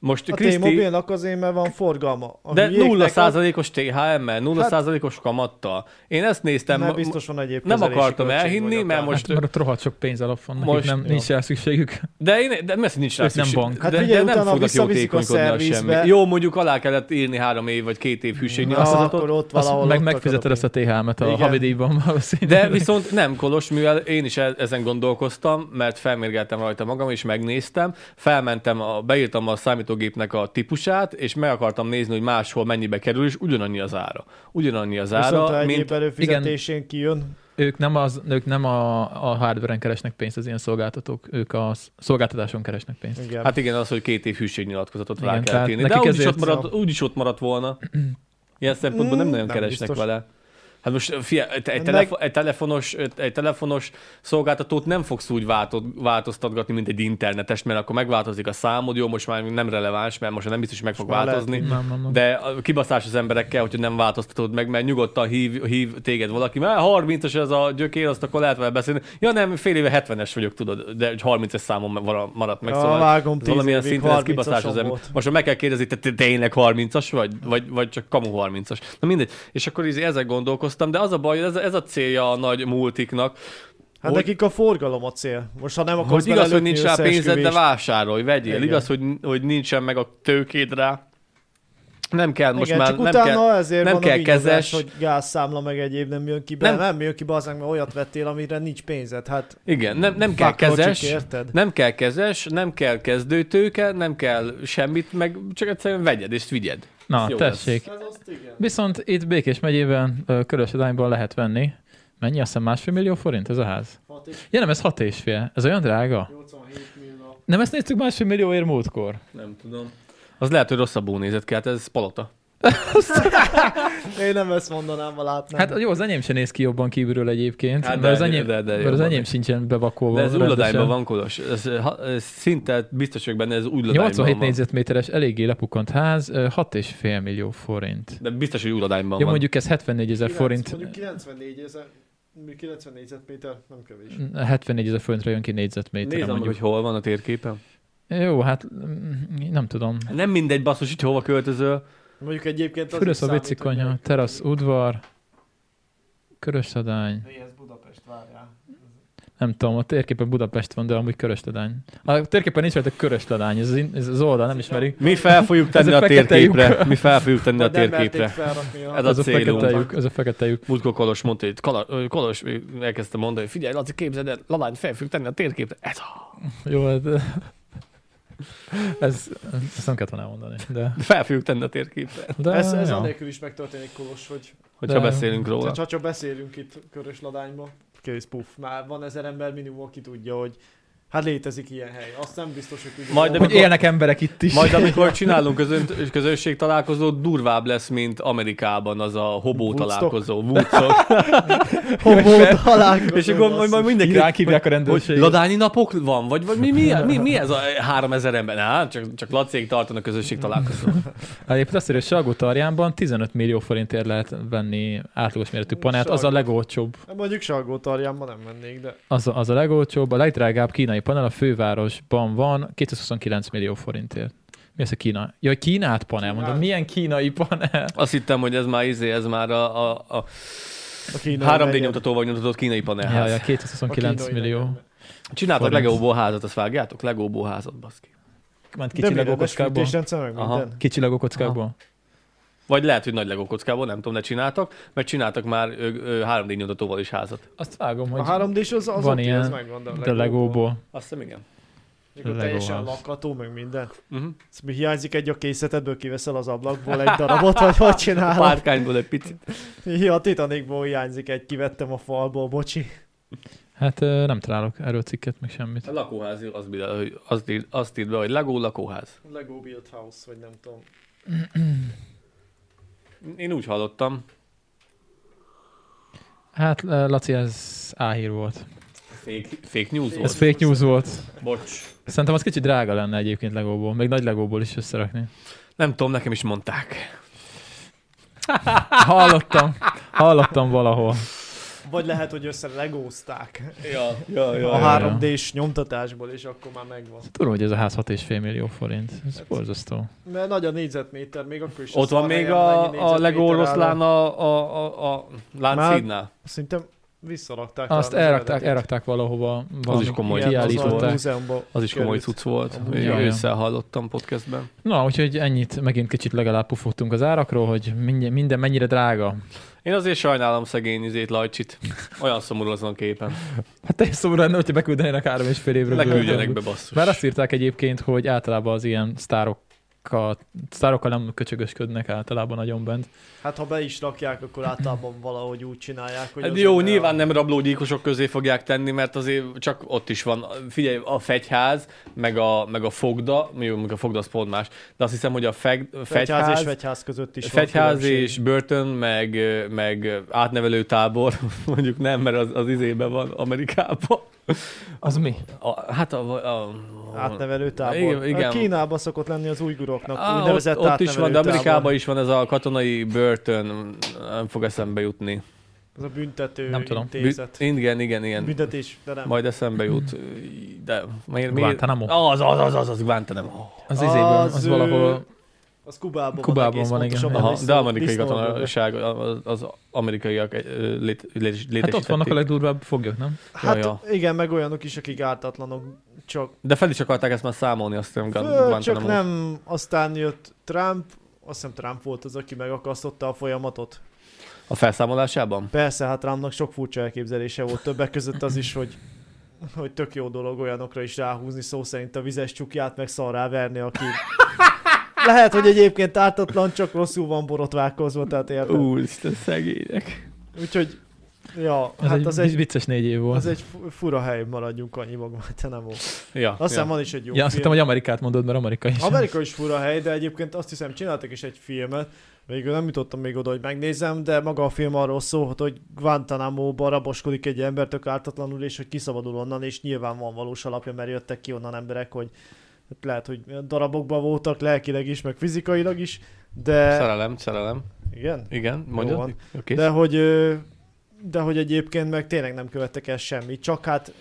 S2: Most
S3: A
S2: Kriszti,
S3: T-Mobilnak azért, mert van forgalma. A
S2: de
S3: hülyéknek
S2: nulla
S3: az-
S2: százalékos THM-mel, nulla
S3: Hát-
S2: százalékos kamattal. Én ezt néztem,
S3: Nem
S2: ma-
S3: biztos van egyéb
S2: nem
S3: kezelési
S2: akartam
S3: költség,
S2: elhinni,
S3: vagy
S2: mert
S3: akár.
S2: most-
S1: Most, hát, mert ott rohadt sok pénzalap van, nekik
S2: Most-
S1: nem, nincs rá szükségük.
S2: De én, de mi az, hogy nincs rá
S1: Ez nem
S2: szükség?
S1: bank.
S3: Hát
S2: de,
S3: figyelj,
S2: de nem
S3: utána
S2: fognak
S3: visszaviszik a
S2: jótékonykodni a
S3: szervizbe.
S2: semmi. Jó, mondjuk alá kellett írni három év vagy két év hűségni
S3: Na, akkor
S2: nyilatkozatot.
S3: ott valahol
S1: Azt meg
S3: ott
S1: megfizeted
S3: akadok
S1: ezt a THM-et a
S3: Igen.
S1: havidíjban valószínűleg.
S2: De viszont nem kolos, mivel én is e- ezen gondolkoztam, mert felmérgeltem rajta magam, és megnéztem, felmentem, a, beírtam a számítógépnek a típusát, és meg akartam nézni, hogy máshol mennyibe kerül, és ugyanannyi az ára. Ugyanannyi az
S3: én. Viszont ha
S2: ára,
S3: egyéb
S2: mint...
S3: előfizetésén kijön,
S1: Ők nem, az, ők nem a, a hardveren keresnek pénzt, az ilyen szolgáltatók, ők a sz- szolgáltatáson keresnek pénzt.
S3: igen.
S2: Hát igen, az, hogy két év hűségnyilatkozatot rá
S1: Igen,
S2: kell
S1: tehát
S2: írni. De
S1: nekik
S2: úgyis
S1: ezért-
S2: ott, maradt, úgyis ott maradt volna. Ilyen szempontból nem
S3: Mm,
S2: nagyon
S3: nem
S2: keresnek
S3: biztos.
S2: vele. Hát most fia, egy, egy,
S3: Meg-
S2: telefo- egy, telefonos, egy telefonos szolgáltatót nem fogsz úgy váltot, változtatgatni, mint egy internetes, mert akkor megváltozik a számod, jó, most már nem releváns, mert most nem biztos, hogy meg fog
S3: már lehet,
S2: változni.
S1: Nem, nem, nem.
S2: De a kibaszás az emberekkel, hogyha nem változtatod meg, mert nyugodtan hív, hív téged valaki, mert 30-as ez a gyökér, azt akkor lehet vele beszélni. Ja nem, fél éve 70-es vagyok, tudod, de egy 30-es számom mara- maradt meg,
S3: Ja,
S2: szóval
S3: vágom, tíz
S2: valamilyen
S3: évig
S2: szinten ez
S3: 30-asom
S2: kibaszás az ember.
S3: volt.
S2: Most már meg kell kérdezni, te te tényleg 30-as vagy, vagy, vagy csak kamu 30-as. Na mindegy. És akkor így ezek gondolkoztam, de az a baj, hogy ez, ez a célja a nagy multiknak,
S3: Hát
S2: Hogy-
S3: nekik a forgalom a cél. Most ha nem akarsz
S2: hogy igaz, hogy
S3: belelökni
S2: nincs rá pénzed, de
S3: összeesküvést,
S2: vásárolj, vegyél.
S3: Igen.
S2: Igaz, hogy, hogy nincsen meg a tőkéd rá. Nem kell Hát most
S3: igen,
S2: már,
S3: csak
S2: nem
S3: utána
S2: kell.
S3: ezért
S2: nem
S3: van
S2: kell
S3: a vigyázás,
S2: kezes.
S3: hogy gázszámla meg egyéb nem jön ki be.
S2: Nem.
S3: Nem, nem jön ki bazánk, mert olyat vettél, amire nincs pénzed. Hát
S2: Igen, nem, nem kell
S3: fuck, logic,
S2: kezes,
S3: érted?
S2: nem kell kezes, nem kell kezdőtőke, nem kell semmit, meg csak egyszerűen vegyed és vigyed.
S1: Na,
S2: Ez jó
S1: tessék.
S3: Ez azt igen.
S1: Viszont itt Békés megyében, ö, Körösodányban lehet venni. Mennyi? Azt hiszem másfél millió forint ez a ház?
S3: 6 és
S1: Ja nem, ez hat és fél. Ez olyan drága.
S3: 87 millió.
S1: Nem ezt néztük másfél millióért múltkor?
S2: Nem tudom. Az lehet, hogy rosszabbul nézett ki, hát ez palota.
S3: Én nem ezt mondanám, ha látnám.
S1: Hát jó, az enyém sem néz ki jobban kívülről egyébként,
S2: Hát
S1: hát,
S2: de-
S1: mert az enyém,
S2: de- de- de
S1: mert az
S2: jobban.
S1: enyém sincsen bevakolva.
S2: De ez
S1: rendesen.
S2: Ulladányban van, Kolos. Ez, ha- ez szinte biztos vagyok benne, ez Ulladányban
S1: 87
S2: van.
S1: négyzetméteres, eléggé lepukkant ház, ö, 6,5 millió forint.
S2: De biztos, hogy Ulladányban
S1: Ja,
S2: van.
S1: mondjuk ez 74 ezer
S3: Kilenc-
S1: forint,
S3: Mondjuk 94 ezer, 94 négyzetméter, nem kevés.
S1: 74 ezer forintra jön ki négyzetméterre
S2: Nézem,
S1: mondjuk.
S2: hogy hol van a térképen.
S1: Jó, hát mm, nem tudom.
S2: Hát Nem mindegy, basszus, hogy hova költözöl.
S3: Mondjuk egyébként az
S1: Fürös
S3: is
S1: a
S3: számít,
S1: vici
S3: hogy
S1: konyha,
S3: melyik-
S1: terasz, udvar, körösadány.
S3: Mi ez Budapest, várjál.
S1: Nem tudom, a térképen Budapest van, de amúgy körösadány. A térképen nincs rajta körösadány, ez, az in- ez az oldal, nem ismeri.
S2: Mi fel fogjuk tenni
S1: Ez a
S2: a
S1: fekete
S2: térképre. Mi fel fogjuk tenni a
S3: Vagy nem merték
S2: térképre.
S3: felrakni a-
S2: Ez
S1: Ez a,
S2: célunk.
S1: fekete lyuk, ez a fekete lyuk.
S2: Múltkor Kolos mondta, hogy Kala- ö, Kolos ö, elkezdte mondani, hogy figyelj, Laci, képzeld el, Lalányt fel fogjuk tenni a térképre. Ez a...
S1: Jó, hát, ez, ezt nem kellett volna elmondani, de...
S2: Hát Fel fogjuk tenni a térképre.
S1: de
S3: Ez, ez
S1: jó.
S3: anélkül is megtörténik, Kolos, hogy
S2: Hogyha
S1: De-
S2: beszélünk
S1: Szóval-
S2: róla.
S3: tehát, ha csak beszélünk itt körös ladányba, kész, puff, már van ezer ember minimum, aki tudja, hogy Hát létezik ilyen hely. Azt nem biztos, hogy tudjuk.
S2: Majd,
S3: hol
S1: Hogy
S2: amikor-
S1: élnek emberek itt is.
S2: Majd amikor csinálunk közön, közösség találkozót, durvább lesz, mint Amerikában az a hobó
S3: Woodstock?
S2: találkozó. Woodstock.
S3: van. Hobó találkozó.
S2: És akkor majd, majd mindenki...
S1: Irán hívják a
S2: Hogy
S1: rendőrséget.
S2: ladányi napok van? Vagy, vagy mi, mi, mi, mi, ez a 3000 ember? Nah, csak, csak lacék tartanak közösség találkozón.
S1: Egyébként azt írja, hogy Salgó Tarjánban 15 millió forintért lehet venni átlagos méretű panelt, az a
S3: Salgó.
S1: legolcsóbb.
S3: Mondjuk Salgó tarjánba nem mennék, de
S1: Az a, az a legolcsóbb, a legdrágább kínai panel a fővárosban van 229 millió forintért. Mi ez a Kína? Ja, hogy Kínát panel, mondom,
S3: Kínát.
S1: milyen kínai panel?
S2: Azt hittem, hogy ez már izé, ez már a, a, a
S3: a kínai
S2: 3D
S3: negyed-
S2: nyomtatóval nyomtatott kínai
S1: Ja,
S2: panelház.
S1: ja,
S3: hát. a
S1: 229
S3: kínai
S1: millió.
S3: negyedben.
S2: Csináltak
S1: Forint.
S2: legóból házat, azt vágjátok? Legóból házat, baszki.
S1: Ment
S3: De
S1: kicsi
S3: mire,
S1: legókockákból.
S3: besfűtésrendszer meg
S2: Aha.
S3: minden.
S1: Kicsi legókockákból.
S2: Vagy lehet, hogy nagy legókockából, nem tudom, ne csináltak, mert csináltak már ö, ö, 3D nyomtatóval is házat.
S1: Azt vágom,
S3: A
S1: hogy
S3: 3D-s az, az
S1: Van
S3: oké,
S1: ilyen,
S3: az megvan, de a
S1: de legóból.
S2: Azt hiszem, igen.
S3: Mikor
S1: Lego
S3: teljesen
S1: House.
S3: lakható, meg minden.
S2: Uh-huh.
S3: Ez mi hiányzik egy a készletedből, kiveszel az ablakból egy darabot, vagy hogy
S1: Hát
S3: csinálod?
S2: Párkányból egy picit.
S3: Ja, a Titanicból hiányzik egy, kivettem a falból, bocsi.
S1: Hát ö, nem találok erről cikket, meg semmit.
S2: A lakóház ír- azt, írja, hogy- azt, ír- azt írt be, hogy legó lakóház.
S3: Lego Build House, vagy nem tudom.
S2: Én úgy hallottam.
S1: Hát ö, Laci, ez áhír volt.
S2: Fake, fake news
S3: Ez
S2: volt.
S1: Ez fake news volt.
S2: Bocs.
S1: Szerintem az kicsit drága lenne egyébként legóból, még nagy legóból is összerakni.
S2: Nem tudom, nekem is mondták.
S1: Hallottam, hallottam valahol.
S3: Vagy lehet, hogy össze legózták
S2: Ja, ja,
S1: ja.
S3: a 3D-s nyomtatásból, és akkor már megvan.
S1: Tudom, hogy ez a ház 6,5 millió forint. Ez borzasztó.
S3: Mert nagy a négyzetméter, még akkor is.
S2: Ott
S3: azt
S2: van
S3: már
S2: még
S3: helyen mennyi
S2: a, a
S3: négyzetméter
S2: Lego oroszlán
S3: áll.
S2: a, a, a, a Lánchídnál.
S3: Szerintem visszarakták.
S1: Azt
S3: talán az
S1: elrakták,
S3: eredetit.
S1: elrakták valahova. valami
S2: is komoly.
S3: Igen, az a
S1: Kiállították.
S3: múzeumban.
S2: Az is komoly
S3: került.
S2: cucc volt.
S3: Amúgy,
S1: ja.
S2: Ja, ősszel hallottam podcastben.
S1: Na, úgyhogy ennyit, megint kicsit legalább pufogtunk az árakról, hogy minden, minden mennyire drága.
S2: Én azért sajnálom szegény izét Lajcsit. Olyan szomorú azon a képen.
S1: Hát te szomorú lenne, hogyha beküldenének három és fél évre.
S2: Ne küldjenek
S1: bőven.
S2: be basszus.
S1: Már azt írták egyébként, hogy általában az ilyen sztárokkal, sztárokkal nem köcsögösködnek általában nagyon bent.
S3: Hát ha be is rakják, akkor általában valahogy úgy csinálják, hogy...
S2: Hát
S3: az
S2: jó,
S3: ember-
S2: nyilván nem rablógyilkosok közé fogják tenni, mert azért csak ott is van. Figyelj, a fegyház, meg a, meg a fogda, jó, mondjuk a fogda az pont más, de azt hiszem, hogy a feg,
S3: Fegyház,
S2: fegyház,
S3: és fegyház között is
S2: fegyház
S3: van különbség.
S2: és börtön, meg, meg átnevelő tábor, mondjuk nem, mert az, az izében van Amerikában.
S1: Az mi?
S2: A, hát a, a, a
S3: Átnevelő tábor.
S2: Igen,
S3: Igen,
S2: igen.
S3: igen. Kínában szokott lenni az ujguroknak
S2: Á,
S3: Á, úgynevezett
S2: ott, ott is van,
S3: átnevelő
S2: de Amerikában
S3: tábor.
S2: is van ez a katonai börtön, nem fog eszembe jutni.
S3: Az a büntető
S1: Nem tudom.
S3: intézet.
S2: igen, igen, igen.
S3: Büntetés, de nem.
S2: Majd eszembe jut. De miért? miért?
S1: Guantánamo?
S2: Az, az, az, az, az Guantanamo.
S1: Az izéből, az,
S3: Az,
S1: az
S3: ö,
S1: valahol
S3: Az Kubában,
S1: Kubában
S3: egész
S1: van, igen.
S3: pontosan,
S1: Aha,
S3: ahol
S2: Aha,
S3: is
S2: de
S3: szó-
S2: amerikai
S3: disznóval
S2: katonaság, az, az amerikaiak eh, lét, lét,
S1: Hát ott vannak a
S2: létesítették.
S1: legdurvább foglyok, nem?
S3: Hát
S2: Ja,
S3: igen, meg olyanok is, akik ártatlanok. Csak,
S2: De fel is akarták ezt már számolni, azt hiszem, Gu-
S3: föl, csak
S2: Guantanamo.
S3: nem, aztán jött Trump, azt hiszem Trump volt az, aki megakasztotta a folyamatot.
S2: A felszámolásában?
S3: Persze, hát Trumpnak sok furcsa elképzelése volt, többek között az is, hogy hogy tök jó dolog olyanokra is ráhúzni szó szerint a vizes csukját, meg szarrá verni, aki... Lehet, hogy egyébként ártatlan, csak rosszul van borotválkozva, tehát érted?
S2: Úristen, szegények.
S3: Úgyhogy, ja,
S1: Ez
S3: hát
S1: egy,
S3: az egy,
S1: vicces négy év volt.
S3: az egy fu- fura hely, maradjunk annyi Guantanamo.
S2: Ja,
S3: Azt hiszem
S2: ja.
S3: van is egy jó
S1: ja, azt
S3: film.
S1: hittem, hogy Amerikát mondod, mert Amerika is.
S3: Amerika is fura hely, de egyébként azt hiszem csináltak is egy filmet, végül nem jutottam még oda, hogy megnézem, de maga a film arról szólt, hogy Guantanamo-ba raboskodik egy ember tök ártatlanul, és hogy kiszabadul onnan, és nyilván van valós alapja, mert jöttek ki onnan emberek, hogy hát lehet, hogy darabokban voltak lelkileg is, meg fizikailag is, de...
S2: Szerelem, szerelem.
S3: Igen?
S2: Igen,
S3: eh, Jó
S2: mondjad.
S3: van.
S2: Oké.
S3: De hogy, ö, de hogy egyébként meg tényleg nem követtek el semmit, csak hát...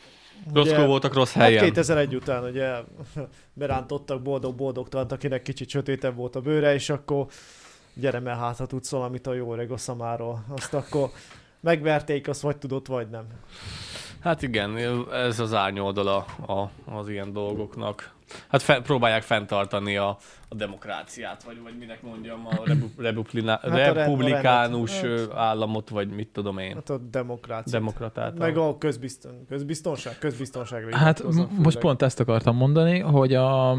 S2: Rosszkó
S3: ugye-
S2: voltak rossz
S3: Hát
S2: helyen.
S3: 2001 után ugye berántottak boldog-boldogtalant, akinek kicsit sötétebb volt a bőre, és akkor gyere mert hát, ha tudsz valamit a jó öreg oszamáról. Azt akkor megverték, azt vagy tudott, vagy nem.
S2: Hát igen, ez az árnyoldala a, az ilyen dolgoknak. Hát fe, próbálják fenntartani a, a demokráciát, vagy, vagy minek mondjam, a rebu, rebuplina,
S3: Hát a re- a
S2: republikánus
S3: rendet.
S2: ö, államot, vagy mit tudom én,
S3: Hát a demokrácia.
S2: demokratát.
S3: Meg a közbizton, közbiztonság, közbiztonságra
S1: Hát
S3: hivatkoznak
S1: m- most
S3: főleg.
S1: pont ezt akartam mondani, hogy a,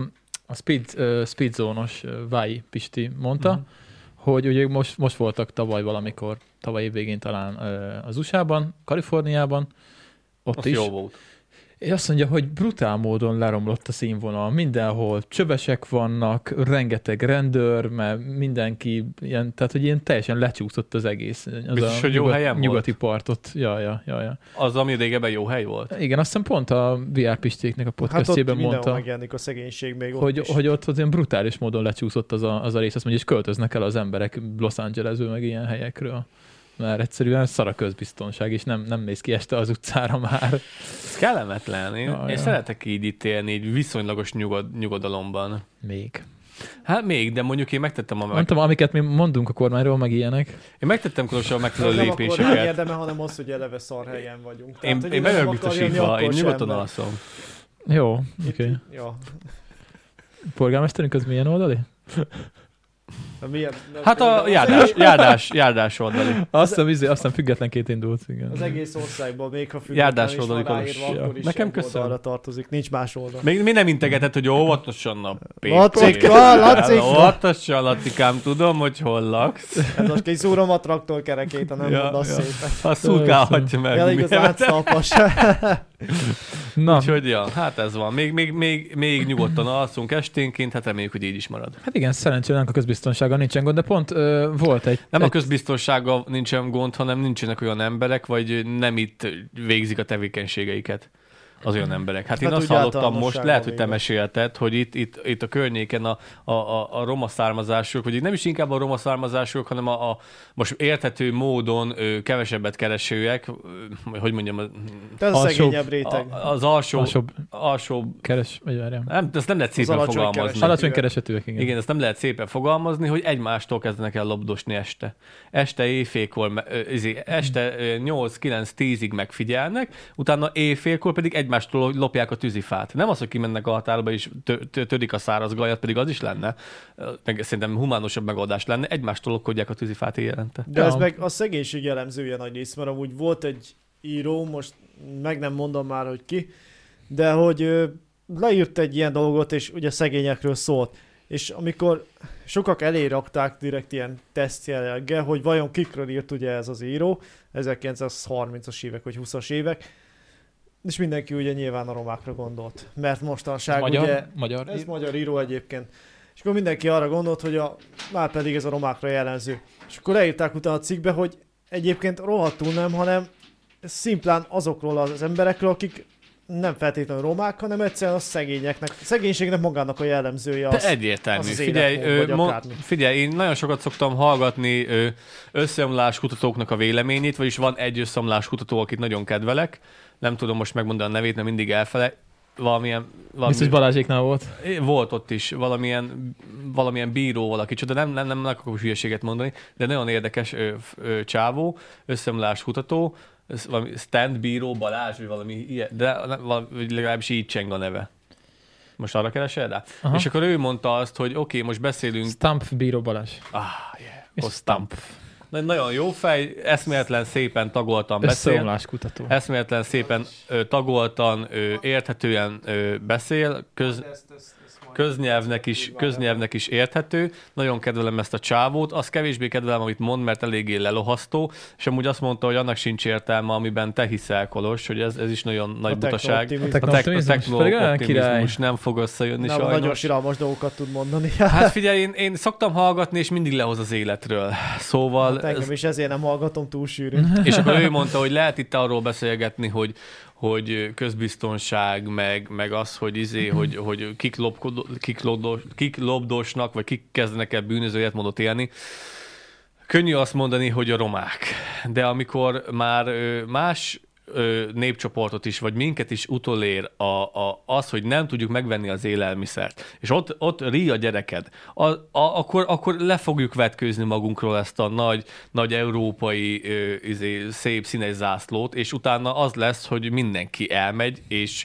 S1: a speed, uh, speedzónos uh, Vai Pisti mondta,
S2: Mhm.
S1: hogy ugye most, most voltak tavaly valamikor, tavaly év végén talán uh, az USA-ban, Kaliforniában, ott
S2: Ott
S1: is.
S2: jó volt.
S1: és azt mondja, hogy brutál módon leromlott a színvonal. Mindenhol csövesek vannak, rengeteg rendőr, mert mindenki ilyen, tehát hogy ilyen teljesen lecsúszott az egész. Az
S2: Biztos,
S1: a
S2: hogy jó helyen volt?
S1: Nyugati partot. Ja, ja, ja, ja.
S2: Az, ami régebben jó hely volt.
S1: Igen, azt hiszem pont a VR Pistéknek a
S3: Hát ott
S1: podcastjében
S3: mindenhol
S1: mondta,
S3: megjelenik a szegénység még ott
S1: hogy,
S3: is.
S1: hogy ott az ilyen brutális módon lecsúszott az a, az a rész, azt mondja, és költöznek el az emberek Los Angelesből, meg ilyen helyekről. Mert egyszerűen szar a közbiztonság, és nem, nem néz ki este az utcára már.
S2: Ez kellemetlen. Én,
S1: Ja,
S2: én
S1: ja.
S2: szeretek így itt élni, így viszonylagos nyugod, nyugodalomban.
S1: Még.
S2: Hát még, de mondjuk én megtettem a,
S1: Nem
S2: meg,
S1: tudom, amiket mi mondunk a kormányról, meg ilyenek.
S2: én megtettem különösen a
S3: Az
S2: megfelelő
S3: Hát nem akkor nem
S2: lépéseket.
S3: érdeme, hanem az, hogy eleve szar helyen vagyunk.
S2: Én,
S3: hogy
S2: én
S3: nem
S2: meg vagyok
S3: akar jönni,
S2: biztosítva,
S3: akkor
S2: én
S3: sem,
S2: nyugodtan
S3: mert
S2: alszom.
S1: Jó, oké.
S3: itt-
S1: Okay.
S3: Ja.
S1: Polgármesterünk az milyen oldali?
S3: Na, milyen, na,
S2: Hát
S3: például
S2: a
S3: az
S2: járdás,
S3: egész-
S2: járdás, járdás oldali.
S1: Azt hiszem, izé- azt hiszem függetlenként indult, igen.
S3: Az egész országban, még ha
S2: Járdás
S3: független is van
S2: oldali kolos.
S3: ráírva,
S1: Ja.
S3: akkor is
S2: Nekem
S3: egy
S2: köszön.
S3: oldalra tartozik. Nincs más oldal.
S2: Még mi nem integetett, hogy óvatosan a pénz.
S3: Lacika, Lacika!
S2: Óvatosan, Lacikám, tudom, hogy hol laksz.
S3: Ez most egy zúrom a traktor kerekét, ha nem
S2: Ja,
S3: mondasz
S2: ja.
S3: szépen.
S2: A szurkálhatja meg.
S3: Elég az átszalpas.
S1: Na,
S2: Úgyhogy ja, hát ez van. Még, még, még, még nyugodtan alszunk esténként, hát reméljük, hogy így is marad.
S1: hát igen, szerencsére a közbiztonsága nincsen gond, de pont ö, volt egy...
S2: Nem a
S1: egy
S2: közbiztonsága nincsen gond, hanem nincsenek olyan emberek, vagy nem itt végzik a tevékenységeiket az olyan emberek. Hát, én
S3: Hát
S2: azt
S3: úgy
S2: hallottam most,
S3: általánosságban
S2: lehet, hogy te
S3: véve.
S2: mesélted, hogy itt, itt, itt a környéken a, a, a, a roma származások, vagy nem is inkább a roma származások, hanem a, a most érthető módon ö, kevesebbet keresőek, ö, hogy mondjam, a-
S3: Ez a
S1: Alsóbb.
S3: szegényebb réteg.
S2: a, az alsó, alsó,
S1: alsóbb
S2: alsó
S1: keres... Vagy várjál.
S2: nem, ezt nem lehet szépen
S3: alacsony
S2: fogalmazni.
S3: kereset.
S1: Alacsony keresetőek, igen.
S2: Igen, ezt nem lehet szépen fogalmazni, hogy egymástól kezdenek el lobdosni este. Este éjfélkor, me- ö, izé, este 8-9-10-ig megfigyelnek, utána éjfélkor pedig egymástól lopják a tűzifát. Nem az, hogy kimennek a határba és tö- tö- törik a száraz gajat, pedig az is lenne, Ö, meg szerintem humánusabb megoldás lenne, egymástól lopkodják a tűzifát éjjelente.
S3: De
S1: Ja.
S3: ez meg a szegénység jellemzője nagy rész, mert amúgy volt egy író, most meg nem mondom már, hogy ki, de hogy ö, leírt egy ilyen dolgot, és ugye szegényekről szólt. És amikor sokak elé rakták direkt ilyen tesztjelelge, hogy vajon kikről írt ugye ez az író, 1930-as évek vagy 20-as évek, és mindenki ugye nyilván a romákra gondolt, mert mostanság
S1: magyar,
S3: ugye
S1: magyar.
S3: ez magyar író egyébként. És akkor mindenki arra gondolt, hogy a, már pedig ez a romákra jellemző. És akkor leírták utána a cikkbe, hogy egyébként rohadtul nem, hanem szimplán azokról az emberekről, akik nem feltétlenül romák, hanem egyszerűen a szegényeknek, szegénységnek magának a jellemzője
S2: Te
S3: az.
S2: egyértelmű.
S3: az az
S2: figyelj,
S3: életmód, vagy
S2: ö, mon,
S3: akármi.
S2: figyelj, én nagyon sokat szoktam hallgatni ö, összeomlás kutatóknak a véleményét, vagyis van egy összeomlás kutató, akit nagyon kedvelek. Nem tudom most megmondani a nevét, mert mindig elfele. Valamilyen, valami,
S1: Biztos Balázséknál volt.
S2: É, volt ott is valamilyen, valamilyen bíró valaki, de nem, nem, nem akarok hülyeséget mondani, de nagyon érdekes ö, f- ö, csávó, összeomlás kutató, ez valami stand bíró Balázs, vagy valami ilyen, de nem- val- vagy legalábbis így cseng a neve. Most arra keresel rá?
S1: Aha.
S2: És akkor ő mondta azt, hogy oké, most beszélünk.
S1: Stamp Bíró Balázs.
S2: Ah, yeah.
S1: És
S2: oh, stamp. Na, Nagyon jó fej, eszméletlen szépen tagoltan beszél.
S1: Összeomlás kutató.
S2: Eszméletlen szépen ö, tagoltan, ö, érthetően ö, beszél, köz, köznyelvnek, is, köznyelvnek is érthető. Nagyon kedvelem ezt a csávót. Azt kevésbé kedvelem, amit mond, mert eléggé lelohasztó, és amúgy azt mondta, hogy annak sincs értelme, amiben te hiszel, Kolos, hogy ez, ez is nagyon nagy butaság.
S3: techno-optimizmus.
S1: A
S2: A techno-
S1: Technooptimizmus, pedig olyan
S2: techno-optimizmus nem fog összejönni
S3: Nem,
S2: sajnos.
S3: nagyon siralmas dolgokat tud mondani.
S2: Hát figyelj, én, én szoktam hallgatni, és mindig lehoz az életről. Szóval,
S3: Hát engem
S2: ez,
S3: is ezért nem hallgatom túl sűrűn.
S2: és akkor ő mondta, hogy lehet itt arról beszélgetni, hogy hogy közbiztonság, meg, meg az, hogy izé, hogy, hogy kik, lopkodó, kik, lobdos, kik lobdosnak, vagy kik kezdenek el bűnözőjét módot élni. Könnyű azt mondani, hogy a romák. De amikor már ö, más ö, népcsoportot is, vagy minket is utolér a, a, az, hogy nem tudjuk megvenni az élelmiszert, és ott, ott ri a gyereked, a, a, akkor, akkor le fogjuk vetkőzni magunkról ezt a nagy, nagy európai ö, izé, szép színes zászlót, és utána az lesz, hogy mindenki elmegy, és